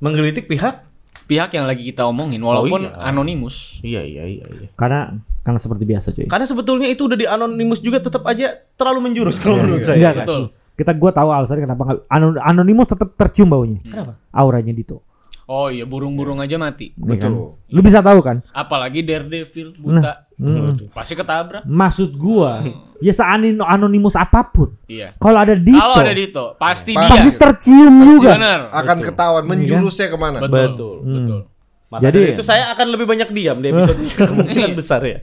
menggelitik pihak? Pihak yang lagi kita omongin walaupun Oh, iya. anonimus. Iya iya iya. iya. Karena karena seperti biasa cuy. Karena sebetulnya itu udah di anonimus juga tetap aja terlalu menjurus kalau menurut saya. Gitu. Enggak, betul. enggak. Kita gua tahu alasannya kenapa nggak anon- anonimus tetap tercium baunya. Kenapa? Auranya Dito. Oh iya burung-burung aja mati. ya kan? Betul. Lu bisa tahu kan? Apalagi Daredevil buta. Nah. Hmm. Pasti ketabrak. Maksud gua, ya seanin anonimus apapun, Iya. kalau ada Dito, Kalau ada Dito, pasti Pasti. dia. pasti tercium juga. Bener. Akan ketahuan menjurusnya kemana. Ah, Betul. Betul. Betul. Betul. Maka Jadi- dari itu saya akan lebih banyak diam di episode ini kemungkinan besar ya.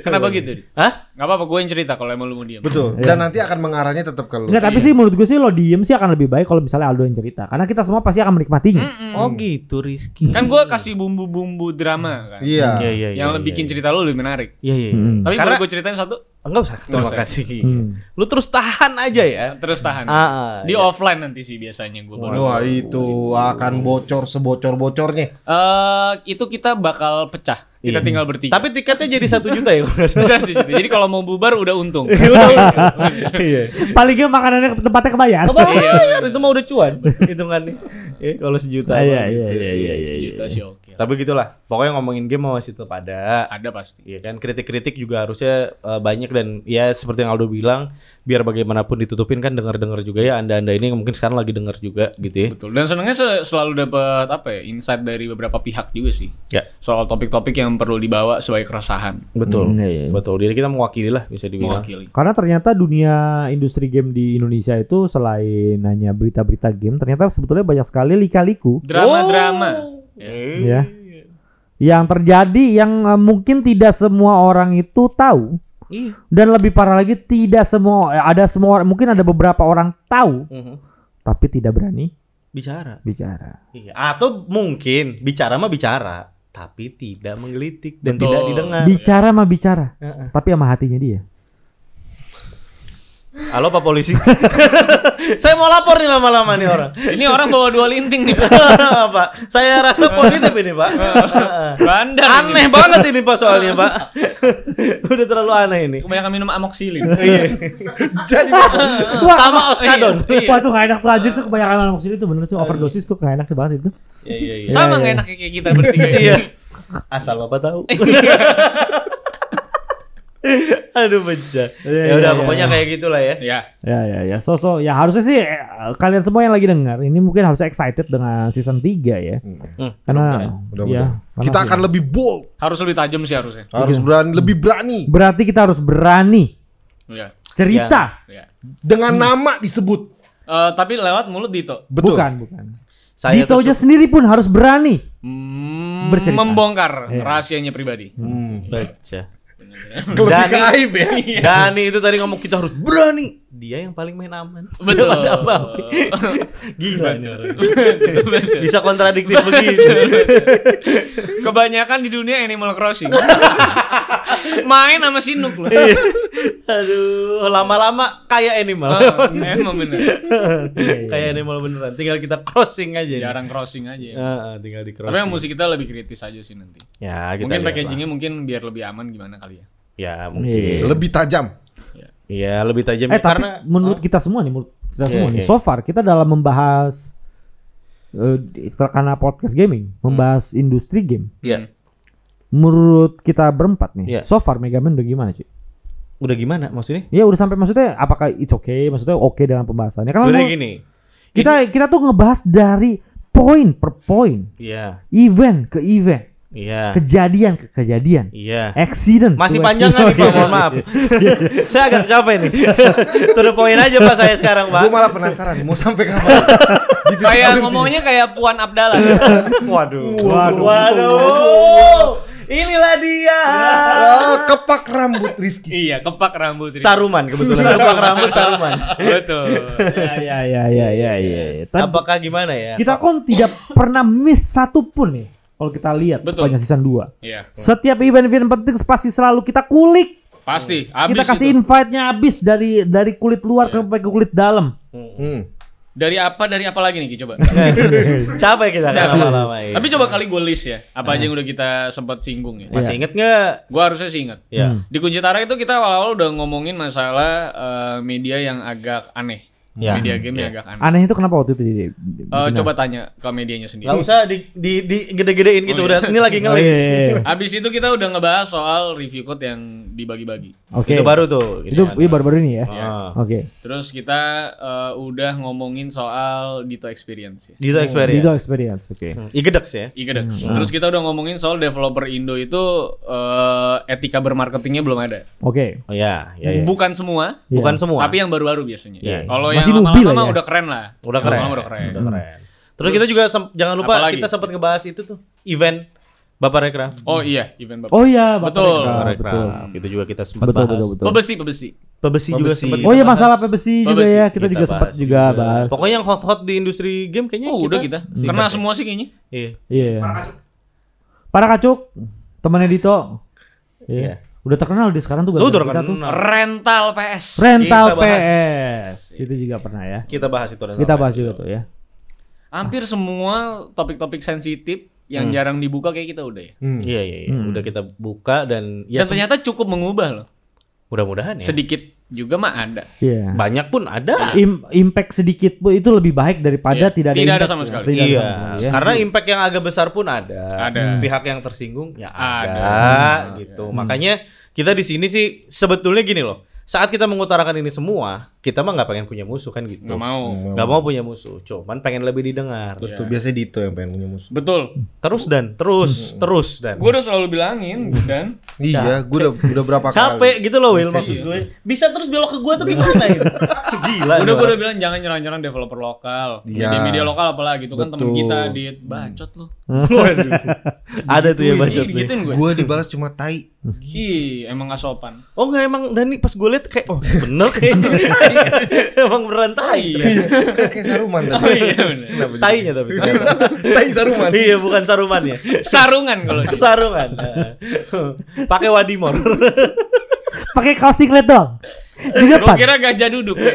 Kenapa gitu? Dit? Hah? Gak apa-apa gue yang cerita kalau emang lu mau diam. Betul. Dan nanti akan mengarahnya tetap ke lu. Enggak, tapi sih menurut gue sih lo diem sih akan lebih baik kalau misalnya Aldo yang cerita. Karena kita semua pasti akan menikmatinya. Oh gitu Rizky. Kan gue kasih bumbu-bumbu drama kan. Iya Iya. iya iya. yang bikin cerita lu lebih menarik. Iya iya. Hmm. Tapi Karena- boleh gue ceritain satu Enggak usah. Terima usah. kasih. Hmm. Lu terus tahan aja ya. terus tahan. Ah, ah, Di iya. offline nanti sih biasanya gue baru. Wah iya. itu akan bocor sebocor-bocornya. Eh, itu kita bakal pecah. Kita tinggal bertiga. Iya. Tapi tiketnya jadi satu juta ya kalau nggak salah. Bisa nanti gitu. Jadi kalau mau bubar udah untung. Iya. Paling gak makanannya ke- tempatnya kebayar. Iya. Kebayar itu mah udah cuan hitungannya. Eh kalau sejuta. Ah, iya, mah iya, gitu. iya, Juta sih oke. Tapi gitulah. Pokoknya ngomongin game masih tetap ada. Ada pasti. Iya kan kritik-kritik juga harusnya eh, banyak dan ya seperti yang Aldo bilang biar bagaimanapun ditutupin kan dengar-dengar juga ya anda-anda ini mungkin sekarang lagi dengar juga gitu ya. Betul. Dan senangnya se- selalu dapat apa ya? Insight dari beberapa pihak juga sih. Ya. Soal topik-topik yang perlu dibawa sebagai keresahan Betul. Hmm, iya, iya. Betul. Jadi kita mewakili lah bisa dibilang. mewakili. Karena ternyata dunia industri game di Indonesia itu selain hanya berita-berita game, ternyata sebetulnya banyak sekali lika-liku Drama-drama. Ya. Eh, ya. Yang terjadi yang eh, mungkin tidak semua orang itu tahu Iya. dan lebih parah lagi tidak semua eh, ada semua orang- mungkin ada beberapa orang tahu Mhm. tapi tidak berani Bicara. bicara. Iya. Atau mungkin bicara mah bicara tapi tidak menggelitik dan tidak Betul. didengar. Bicara mah bicara, Heeh. tapi sama hatinya dia. Halo Pak Polisi. Saya mau lapor nih lama-lama nih orang. Ini orang bawa dua linting nih. Pak. Pak, saya rasa positif ini Pak. Heeh. Bandar. ini. aneh banget ini pak soalnya pak udah terlalu aneh ini Kebanyakan minum amoksilin. Jadi Wah, sama oskadon Iya. Wah tuh gak enak tuh anjir tuh kebanyakan anak sini tuh bener tuh overdosis tuh gak enak tuh banget itu. iya iya iya Sama Iya, nggak iya. enaknya kayak kita bertiga ini. Iya. asal bapak tahu aduh bencana Iya, ya udah iya, pokoknya iya. kayak gitulah ya Ya. Ya ya ya. So so ya harusnya sih eh, kalian semua yang lagi dengar ini mungkin harus excited dengan season 3 ya. Hmm. Karena ya, Hmm. Mudah-mudahan. karena Kita sih. akan lebih bold, Harus lebih tajam sih harusnya. harus berani, lebih berani berarti kita harus berani Iya. cerita. Iya. Ya. dengan nama disebut. Eh, tapi lewat mulut Dito. Betul. Bukan, bukan. Saya Dito tuh aja sendiri pun harus berani. Mm, Bercerita. membongkar Iya. rahasianya pribadi. Hmm. baca. Lebih ke Dani- aib ya. Iya. Dani itu tadi ngomong kita harus berani. Dia yang paling main aman. Betul. Ada apa-apa. Gila. ini orang. Betul, betul. Bisa kontradiktif begitu. Kebanyakan di dunia Animal Crossing. Main sama Sinuk loh. Iya. Aduh, lama-lama kayak animal. Ah, Emang bener. kayak animal beneran. Tinggal kita crossing aja. nih. Jarang crossing aja. Heeh, tinggal di Iya. crossing. Tapi yang musik kita lebih kritis aja sih nanti. Ya, kita Mungkin lihat packagingnya lah. mungkin biar lebih aman gimana kali ya. Ya, mungkin. Lebih tajam. Iya, lebih tajam Iya. Eh ya, tapi karena menurut ah. kita semua nih, menurut kita Iya, semua nih, iya. so far kita dalam membahas eh, di- karena podcast gaming, Hmm. membahas industri game. Hmm. Iya. Menurut kita berempat nih, Ya. Iya. so far Mega Man udah gimana cuy? udah gimana maksudnya? Ya udah sampai maksudnya apakah it's okay? Maksudnya oke dengan pembahasannya? Karena Sebenarnya mau- gini. kita kita tuh ngebahas dari poin per poin, Iya, event ke event, iya. kejadian ke kejadian, Iya. accident. Masih to panjang kan accident. nih Pak? Mohon maaf. saya agak capek nih. to the point aja Pak saya sekarang Pak. Gue malah penasaran mau sampai kapan. gitu, Di titik Kayak berhenti. ngomongnya kayak Puan Abdallah. Waduh. Waduh. Waduh. Inilah dia. Ah, kepak rambut Rizky. iya, kepak rambut. Ri. Saruman kebetulan. Kepak rambut Saruman. Betul. Ya ya ya ya Iya, ya. ya. Tapi- Apakah gimana ya? kita kon tidak pernah miss satu pun nih kalau kita lihat Betul. sepanjang season 2. Iya, Setiap event-event penting pasti selalu kita kulik. pasti. Habis kita kasih itu. invite-nya habis dari dari kulit luar Iya. ke- ke kulit dalam. Hmm. Dari apa dari apa lagi nih Ki coba? Capek kita kan lama-lama. iya. Tapi coba kali gue list ya, apa aja yang udah kita sempat singgung ya. Iya. masih inget nggak? Gue harusnya sih ingat. Ya. Hmm. Di Kunci Tara itu kita awal-awal udah ngomongin masalah eh, media yang agak aneh. Ya. Media game yang agak aneh. Aneh itu kenapa waktu itu Oh, di, di- Eh, coba tanya ke medianya sendiri. Gak usah di, di, di gede-gedein gitu Oh, udah. iya. Ini lagi Oh, ngelis. iya. Habis itu kita udah ngebahas soal review code yang dibagi-bagi. Oke. Itu baru tuh. Itu gitu kan. iya, baru-baru ini ya. Ah. Oke. Terus kita eh, udah ngomongin soal Dito Experience ya. Digital experience. Oh, Digital experience. Oke. Igedex ya. Igedex. Terus kita udah ngomongin soal developer Indo itu eh, etika bermarketingnya belum ada. Oke. Oh ya, ya, ya. Bukan semua, Iya. Bukan semua. tapi yang baru-baru biasanya. Iya, iya. Kalau yang Masih newbie lama-lama lah ya. udah keren lah. udah keren. Lama-lama udah keren. Udah keren. Terus, kita juga sem- jangan lupa apalagi? kita sempat ngebahas itu tuh event Bapak Rekraf. Oh iya, event bapak. Oh iya, Bapak Betul. Rekra, Bapak betul. Rekraf. Itu juga kita sempat Betul, bahas. betul, betul. Pebesi, pebesi. Pebesi, juga Pebesi. sempat. Oh iya, kita masalah bahas. PBC juga Pebesi. ya. Kita, juga bahas sempat juga bahas. Pokoknya yang hot-hot di industri game kayaknya Oh, udah kita. Iya, Singkat Kena ya. semua sih kayaknya. Iya. Iya. Para kacuk, temannya Dito. Iya. Iya. Udah terkenal dia sekarang tuh Lu udah gara-gara kita tuh. kenal. Rental PS. Rental Kita bahas. PS. Itu juga pernah ya. Kita bahas itu rental Kita PS bahas itu. juga tuh ya. Hampir semua topik-topik sensitif yang jarang dibuka kayak kita udah ya. Hmm. Hmm. Iya, iya, iya. Hmm. Udah kita buka dan ya Dan ternyata cukup mengubah loh. sem- mudah-mudahan ya. Sedikit juga mah ada. Iya. Banyak pun ada. Im- impact sedikit pun itu lebih baik daripada Iya. tidak ada Tidak ada impact sama ya. sekali. Tidak ada iya, sama sekali, ya. karena impact yang agak besar pun ada. Hmm. Ada. Pihak yang tersinggung ya ada, Ada. Hmm. gitu. Makanya kita di sini sih sebetulnya gini loh. Saat kita mengutarakan ini semua, kita mah nggak pengen punya musuh kan gitu. Nggak mau. Nggak mau punya musuh, cuman pengen lebih didengar. Betul, biasanya Dito yang pengen punya musuh. Betul. Terus dan Hmm. terus terus dan. Gue udah selalu bilangin dan Iya, gue udah udah berapa capek kali. gitu loh Will Iya. maksud gue. Bisa terus belok ke gue tapi gimana gitu. Gila. udah nih gue orang. udah bilang jangan nyerang-nyerang developer lokal. Iya. Media-media lokal apalagi itu kan temen Betul. kita di bacot lu. Waduh. Ada tuh ya Hmm. bacot Ih, nih. Digituin gue. Gue dibalas cuma tai. Ih, emang gak sopan. Oh enggak emang Dani pas gue liat kayak oh bener kayaknya emang berantai. Iya. Kan kayak saruman Oh tadi. iya bener. Iya, Tainya tapi. ternyata. tai saruman. iya bukan sarumannya. Sarungan kalau dia. Sarungan. Nah. Pakai wadimor. Pakai kaos singlet dong. Di Gue depan. kira gajah duduk ya.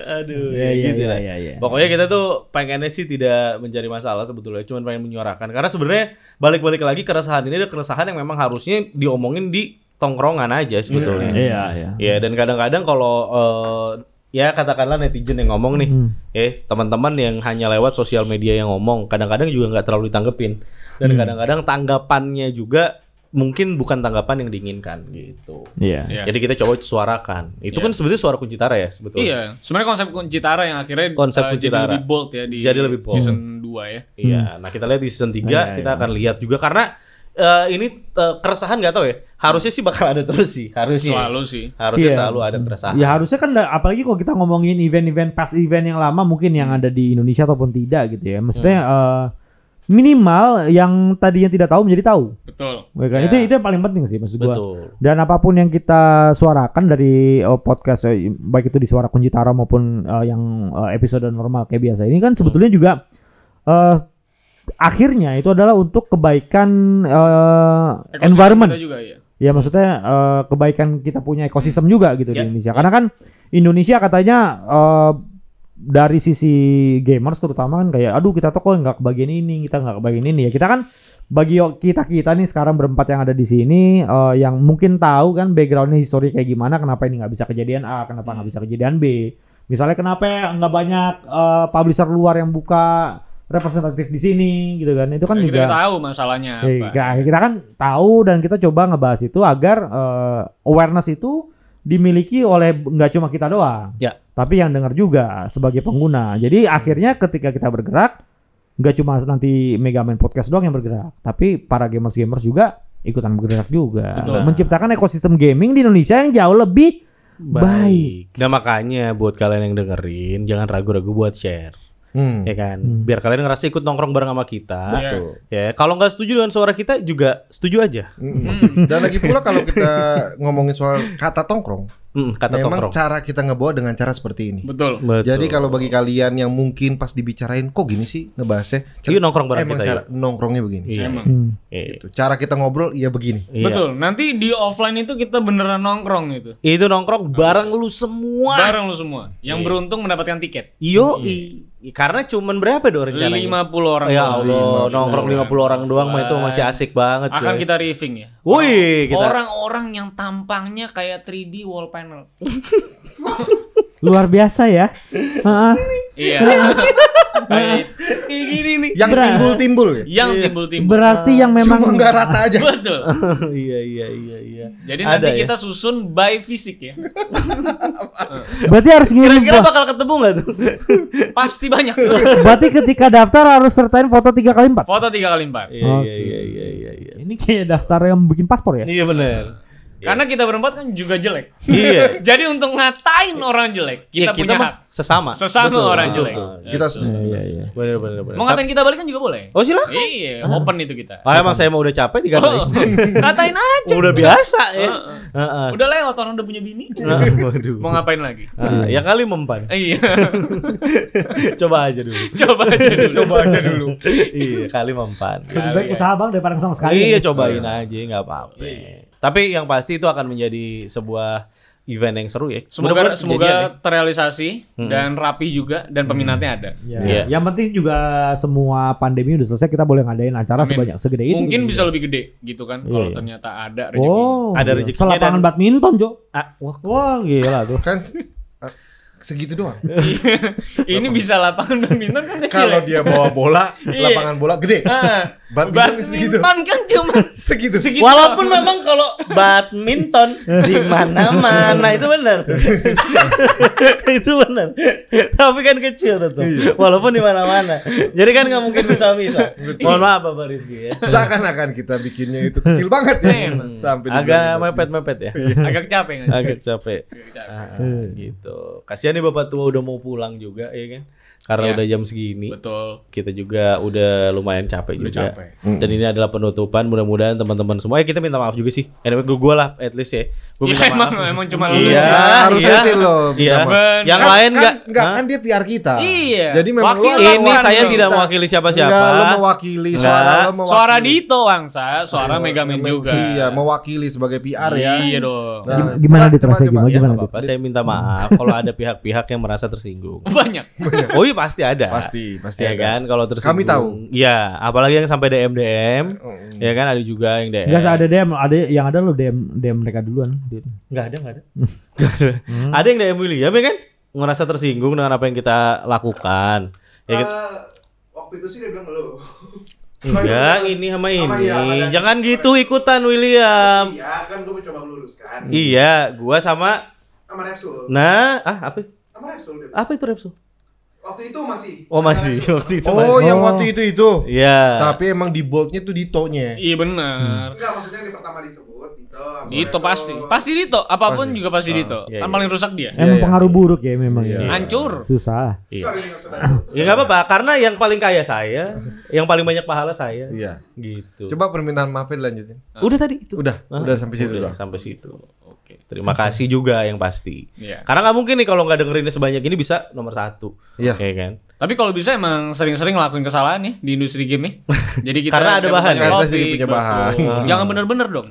Aduh, Iya, ya iya, gitu iya, lah. iya, iya. Pokoknya kita tuh pengennya sih tidak mencari masalah sebetulnya, cuman pengen menyuarakan. Karena sebenarnya balik-balik lagi keresahan ini ada keresahan yang memang harusnya diomongin di tongkrongan aja sebetulnya. Iya, iya. Ya dan kadang-kadang kalau eh, ya katakanlah netizen yang ngomong nih, Hmm. eh teman-teman yang hanya lewat sosial media yang ngomong, kadang-kadang juga nggak terlalu ditanggepin Hmm. dan kadang-kadang tanggapannya juga mungkin bukan tanggapan yang diinginkan gitu. Iya. Iya. Jadi kita coba suarakan. Itu Iya. kan sebetulnya suara kunci tara ya sebetulnya. Iya, sebenarnya konsep kunci Tara yang akhirnya Konsep eh, kunci jadi Tara. lebih bold ya di Jadi lebih bold. season 2 ya. Iya, nah kita lihat di season 3 Iya, kita iya. akan lihat juga karena eh, ini eh, keresahan nggak tahu ya. Harusnya sih bakal ada terus Iya sih. Harusnya. Selalu sih. Harusnya Iya. selalu ada keresahan. Ya harusnya kan da- apalagi kalau kita ngomongin event-event past event yang lama mungkin Hmm. yang ada di Indonesia ataupun tidak gitu ya. Maksudnya eh, minimal yang tadinya tidak tahu menjadi tahu. Betul. Ya kan? Ya. Itu itu yang paling penting sih maksud gua. Betul. Dan apapun yang kita suarakan dari eh, podcast eh, baik itu di suara kunci taro maupun eh, yang eh, episode normal kayak biasa ini kan Hmm. sebetulnya juga eh, akhirnya itu adalah untuk kebaikan eh, Ekosistem environment. kita juga ya. Ya maksudnya eh, kebaikan kita punya ekosistem juga gitu Ya. di Indonesia. Karena kan Indonesia katanya eh, dari sisi gamers terutama kan kayak aduh kita tuh kok nggak kebagian ini, kita nggak kebagian ini ya. Kita kan bagi kita kita nih sekarang berempat yang ada di sini eh, yang mungkin tahu kan backgroundnya histori kayak gimana, kenapa ini nggak bisa kejadian A, kenapa nggak bisa kejadian B. Misalnya kenapa ya nggak banyak eh, publisher luar yang buka representatif di sini gitu kan. Itu kan Dan juga kita tahu masalahnya Iya, apa. Ya, kita- kita kan tahu dan kita coba ngebahas itu agar eh, awareness itu dimiliki oleh nggak cuma kita doang, Ya. tapi yang dengar juga sebagai pengguna. Jadi akhirnya ketika kita bergerak nggak cuma nanti Megaman Podcast doang yang bergerak, tapi para gamers-gamers juga ikutan bergerak juga, Betul. menciptakan ekosistem gaming di Indonesia yang jauh lebih baik. Nah makanya buat kalian yang dengerin jangan ragu-ragu buat share, Hmm. ya kan? Hmm. Biar kalian ngerasa ikut nongkrong bareng sama kita. Iya. Tuh. Ya, kalau nggak setuju dengan suara kita juga setuju aja. Mm-mm. Hmm. Dan lagi pula kalau kita ngomongin soal kata tongkrong, Mm, kata memang tongkrong. cara kita ngebawa dengan cara seperti ini. Betul. Betul. Jadi kalau bagi kalian yang mungkin pas dibicarain kok gini sih ngebahasnya, cara- Yuk nongkrong bareng emang kita. cara yuk. nongkrongnya begini. Iya. Emang. Hmm. Iya. Gitu. Cara kita ngobrol iya begini. Iya. Betul. Nanti di offline itu kita beneran nongkrong gitu. Itu nongkrong bareng lu semua. Bareng lu semua. Yang Iya. beruntung mendapatkan tiket. Yo, karena cuman berapa doang rencananya? 50 Hmm. orang. ya doang. Allah, nongkrong 50 orang doang mah itu masih asik banget. Akan coy. kita riffing ya. Wih, kita Orang-orang yang tampangnya kayak 3D wall panel. Luar biasa ya. Heeh. Iya. Baik. kayak gini nih. Yang Berat. timbul-timbul ya. yang timbul-timbul. Berarti yang memang Cuma nggak rata aja. Betul. iya iya iya iya. Jadi Ada nanti ya? kita susun by fisik ya. berarti harus ngirim Kira-kira bakal ketemu nggak tuh? Pasti banyak. Berarti ketika daftar harus sertain foto tiga kali empat. Foto tiga kali empat. Iya Oke. iya iya iya iya iya. Ini kayak daftar yang bikin paspor ya? Iya benar. Karena kita berempat kan juga jelek. Iya. Jadi untuk ngatain orang jelek, kita, Iya, punya mah hak. sesama. Sesama orang Betul, jelek. Gitu. betul. Kita setuju. Iya iya. Benar benar benar. Mau ngatain kita balik kan juga boleh. Oh silakan. Iya, open itu kita. Ah, emang saya mau udah capek Oh, dikatain. katain aja. Udah biasa ya. Heeh. Heeh. Udah lewat orang udah punya bini. Nah, Waduh. Mau ngapain lagi? Ah, ya kali mempan. Iya. Coba aja dulu. Coba aja dulu. Coba aja dulu. iya, kali mempan. Lebih baik Kali ya. usaha bang daripada sama sekali. iya ya. cobain aja nggak apa-apa. Iya. Tapi yang pasti itu akan menjadi sebuah event yang seru ya. Semoga Mudah-mudahan semoga kejadian ya. terrealisasi dan rapi juga dan peminatnya ada. Iya. Iya. Yang penting juga semua pandemi udah selesai kita boleh ngadain acara Amin. sebanyak segede ini. Mungkin bisa lebih gede gitu kan kalau Ya Iya. ternyata ada rezeki. Wow. Ada rezekinya Selapangan dan- badminton Jo. Ah, wah, Wah gila tuh. Kan eh, segitu doang. Iya. Ini bisa lapangan badminton kan kecil. Kalau dia bawa bola, Iya. lapangan bola gede. Ah, Badminton segitu. badminton kan cuma Segitu. segitu. Walaupun memang kalau badminton di mana-mana itu benar. itu benar. Tapi kan kecil tetap. Iya. Walaupun di mana-mana. Jadi kan nggak mungkin bisa bisa. Mohon maaf Bapak Rizky ya. Seakan-akan kita bikinnya itu kecil banget ya. Emang. Sampai Iya. Agak dibilang- mepet-mepet ya. agak capek nggak sih? Agak capek. Agak capek. Hmm. Ah, gitu. Kasihan nih Bapak tua udah mau pulang juga ya kan. Iya. Karena udah jam segini. Betul. Kita juga udah lumayan capek juga. capek. Hmm. Dan ini adalah penutupan. Mudah-mudahan teman-teman semua. Eh kita minta maaf juga sih. Anyway, gue gue lah at least ya. Gue Iya minta maaf. emang emang cuma lu Iya, sih. Nah, harusnya iya. sih lo. Iya. minta maaf. Ben- Yang Kan- lain kan, nggak? enggak Hah? Ya, kan dia PR kita. Iya. Jadi memang Wakil lo ini lawan saya kita. tidak mewakili siapa-siapa. Nah. Enggak, lo mewakili suara Enggak. lo mewakili. Suara Dito Wangsa, suara Megaman juga. Iya, mewakili sebagai PR ya. Iya dong. Nah, Gim- gimana coba- Dit rasanya? coba- Iya. Ya, Gimana, nggak apa-apa. Saya minta maaf kalau ada pihak-pihak yang merasa tersinggung. Banyak. Oh iya pasti ada. Pasti, pasti Ya ada. kan kalau tersinggung. Kami tahu. Oh, iya. Iya, apalagi yang sampai DM DM. Ya kan ada juga yang DM. Enggak ada DM, ada yang ada lo DM DM mereka duluan. Dit. Nggak ada, nggak ada. Hmm. Ada yang DM William ya kan? Ngerasa tersinggung dengan apa yang kita lakukan. Ya kan? Eh, waktu itu sih dia bilang lu. Enggak, ini Eh, sama Sama ini. iya, ada- Jangan gitu ikutan William. Iya, kan gue mencoba meluruskan. Iya, gua sama Sama Repsul. Nah, ah apa? Sama Repsul dia bilang. Apa itu Repso? Waktu itu masih. Oh masih waktu itu Oh, masih. yang waktu itu itu. Iya. Tapi emang di boldnya tuh Dito-nya. Iya benar. Enggak, maksudnya yang di pertama disebut gitu. Dito. Dito abis Gitu, itu- pasti. Pasti Dito, apapun Pasti. juga pasti Ah, Dito. iya, Kan iya. paling rusak dia. Emang iya. pengaruh buruk ya memang Iya. ya. Hancur. Susah. Sorry, nggak usah. Ya nggak apa-apa karena yang paling kaya saya, yang paling banyak pahala saya. Iya. Gitu. Coba permintaan maafnya dilanjutin. Udah tadi itu. Udah, Hah? udah sampai situ Udah, doang. sampai situ. Oke. Terima kasih juga yang pasti. Iya. Karena nggak mungkin nih kalau nggak dengerinnya sebanyak ini bisa nomor satu. Iya. Ya kan? Tapi kalau bisa emang sering-sering ngelakuin kesalahan nih di industri game nih. Jadi kita Karena ada dapat bahan. banyak Karena topik, jadi punya bahan. betul. Jangan bener-bener dong.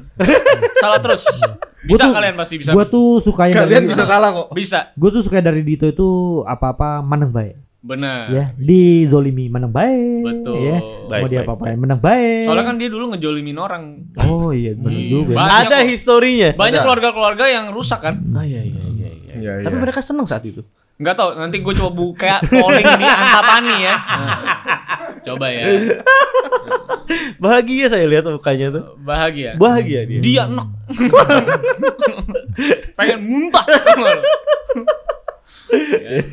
Salah terus. Gua Bisa tuh- kalian pasti bisa. Gue tuh suka yang Kalian bisa salah kok. Bisa. Gue tuh suka dari Dito itu apa-apa menang baik. Benar. Ya, dizolimi menang baik. Ah, iya. Betul. Ya. Baik, Mau dia baik, apa-apain menang baik. Soalnya kan dia dulu ngejolimin orang. Oh iya benar Hmm, juga. banyak Ada kok. historinya. Banyak Ada. keluarga-keluarga yang rusak kan. Ah iya iya iya. iya. Iya, Tapi iya. mereka seneng saat itu. Nggak tahu, nanti gue coba buka polling di Antapani ya. Nah, coba ya. Bahagia saya lihat mukanya tuh. Bahagia. Bahagia dia. Dia enak. Pengen muntah.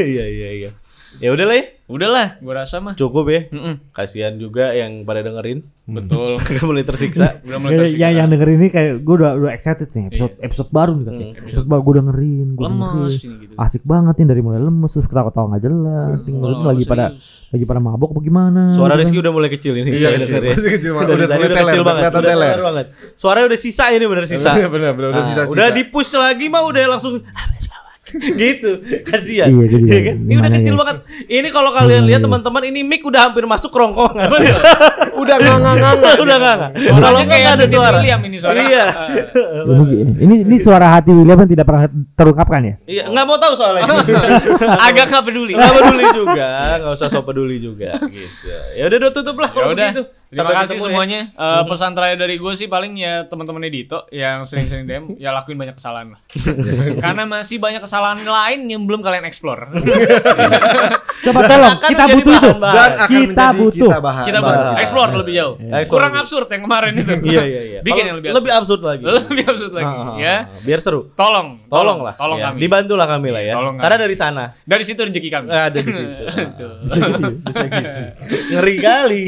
Iya iya iya. Ya udahlah ya. Udahlah, gue rasa mah. Cukup ya. Mm-mm. Kasihan juga yang pada dengerin. Betul. Mulai tersiksa. Udah mulai Ya, tersiksa. yang yang dengerin ini kayak gue udah udah excited nih episode Iya. episode baru nih Hmm, katanya. episode baru gue dengerin, gue dengerin. lemes ini gitu. Asik banget nih dari mulai lemes terus ketawa-tawa nggak jelas. Ini menurut lu lagi serius. pada lagi pada mabok apa gimana? Hmm, Suara gitu Rizky kan. udah mulai kecil ini. Hmm. Iya, saya kecil. denger ya. Masih kecil banget. Dari Udah tadi mulai udah teler, kecil udah banget. kelihatan Udah teler. teler banget. Suaranya udah sisa ini bener sisa. Bener, bener, bener, udah Ah, sisa-sisa. Udah di push lagi mah udah langsung "Ah, gitu kasihan Iya, gitu, Iya iya. kan? ini udah Gimana kecil ya? Iya. banget ini kalau kalian lihat teman-teman ini mic udah hampir masuk kerongkongan Oh, iya. Udah nggak nggak nggak nggak. udah nggak nggak kalau Suaranya nggak kayak ya? nggak ada suara William ini suara. iya Ini, ini ini suara hati William yang tidak pernah terungkapkan ya. iya nggak mau tahu soalnya Agak nggak peduli. nggak peduli juga nggak usah sok peduli juga gitu ya udah udah tutup lah Ya kalau udah. begitu Terima Sampai kasih ketemu ya. semuanya. Eh, pesan terakhir dari gue sih paling ya teman-temannya Dito yang sering-sering DM ya lakuin banyak kesalahan lah. Karena masih banyak kesalahan lain yang belum kalian explore. Coba tolong akan kita menjadi butuh itu. bahan-bahan. Dan akan Kita menjadi butuh. kita bahan. Kita bahan. butuh explore lebih jauh. Explore Kurang lebih. absurd yang kemarin itu. iya iya iya Bikin Kalau yang lebih lebih absurd. absurd lagi Lebih absurd lagi, Ah, ya. biar seru Tolong, tolong lah Tolong ya. kami. dibantulah kami lah ya Tolong kami. karena dari sana Dari situ rezeki kami. ada Nah, di situ Tuh. ngeri kali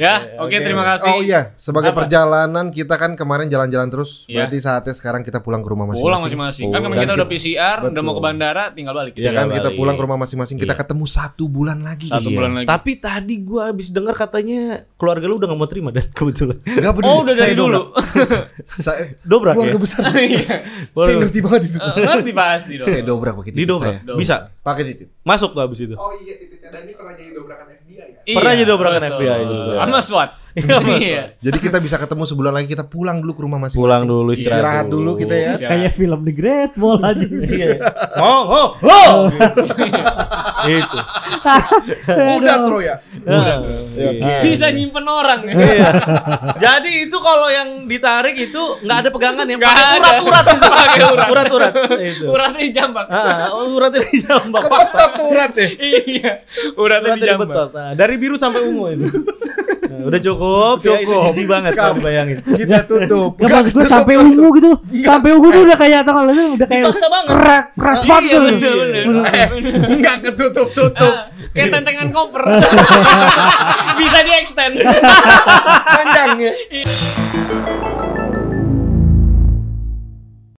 ya, oke terima kasih. Oh iya, sebagai Apa? perjalanan kita kan kemarin jalan-jalan terus. Iya. Berarti saatnya sekarang kita pulang ke rumah masing-masing. Pulang masing-masing. Kan kemarin Dan kita udah kita- PCR, udah mau Oh, betul. ke bandara, tinggal balik. Iya Iya kan Tinggal kita balik. pulang ke rumah masing-masing. Kita Iya. ketemu satu bulan lagi. Satu Iya. bulan lagi. Tapi tadi gua habis dengar katanya keluarga lu udah gak mau terima dan kebetulan. Nggak peduli. oh, udah dari saya dulu. dobrak. Saya Dobrak keluarga ya? besar. Iya. Saya ngerti banget itu. Eh, Ngerti pasti dong. Saya dobrak pakai titik Didobrak. saya. Dobrak. Bisa. Pakai titik. Masuk tuh habis itu. Oh iya, titiknya. Dan ini pernah jadi dobrakan FBI ya? Iya, Pernah jadi dobrakan betul. FBI itu. Sama SWAT. gitu ya? Iya, sama Iya. Jadi kita bisa ketemu sebulan lagi kita pulang dulu ke rumah masing-masing. Pulang dulu Istirahat dulu kita ya. Siap. Kayak film The Great Wall aja. Oh, oh, oh. Gitu. eh, Udah Troya. Nah, Ya, iya. Bisa nyimpen orang ya. Iya. Jadi itu kalau yang ditarik itu nggak ada pegangan ya, Nggak pakai ada. urat-urat itu. Pakai urat. Urat-urat itu. Uratnya dijambak. Ah, ah, uratnya dijambak. Kepetot tuh urat deh. Iya. Uratnya Urat dari dijambak. betot. Nah, dari biru sampai ungu itu. Nah, udah cukup, Iya, ya itu Cukup. jijik banget kalau bayangin. Kita tutup. Gak maksud gue sampai ungu gitu, sampai ungu tuh udah kayak tau nggak lu, udah kayak Eh. Dipaksa banget. kerak, keras Iya, banget gitu. bener, bener. Eh, enggak ketutup-tutup. Ah, Kayak tentengan koper. Bisa di extend. Panjang ya.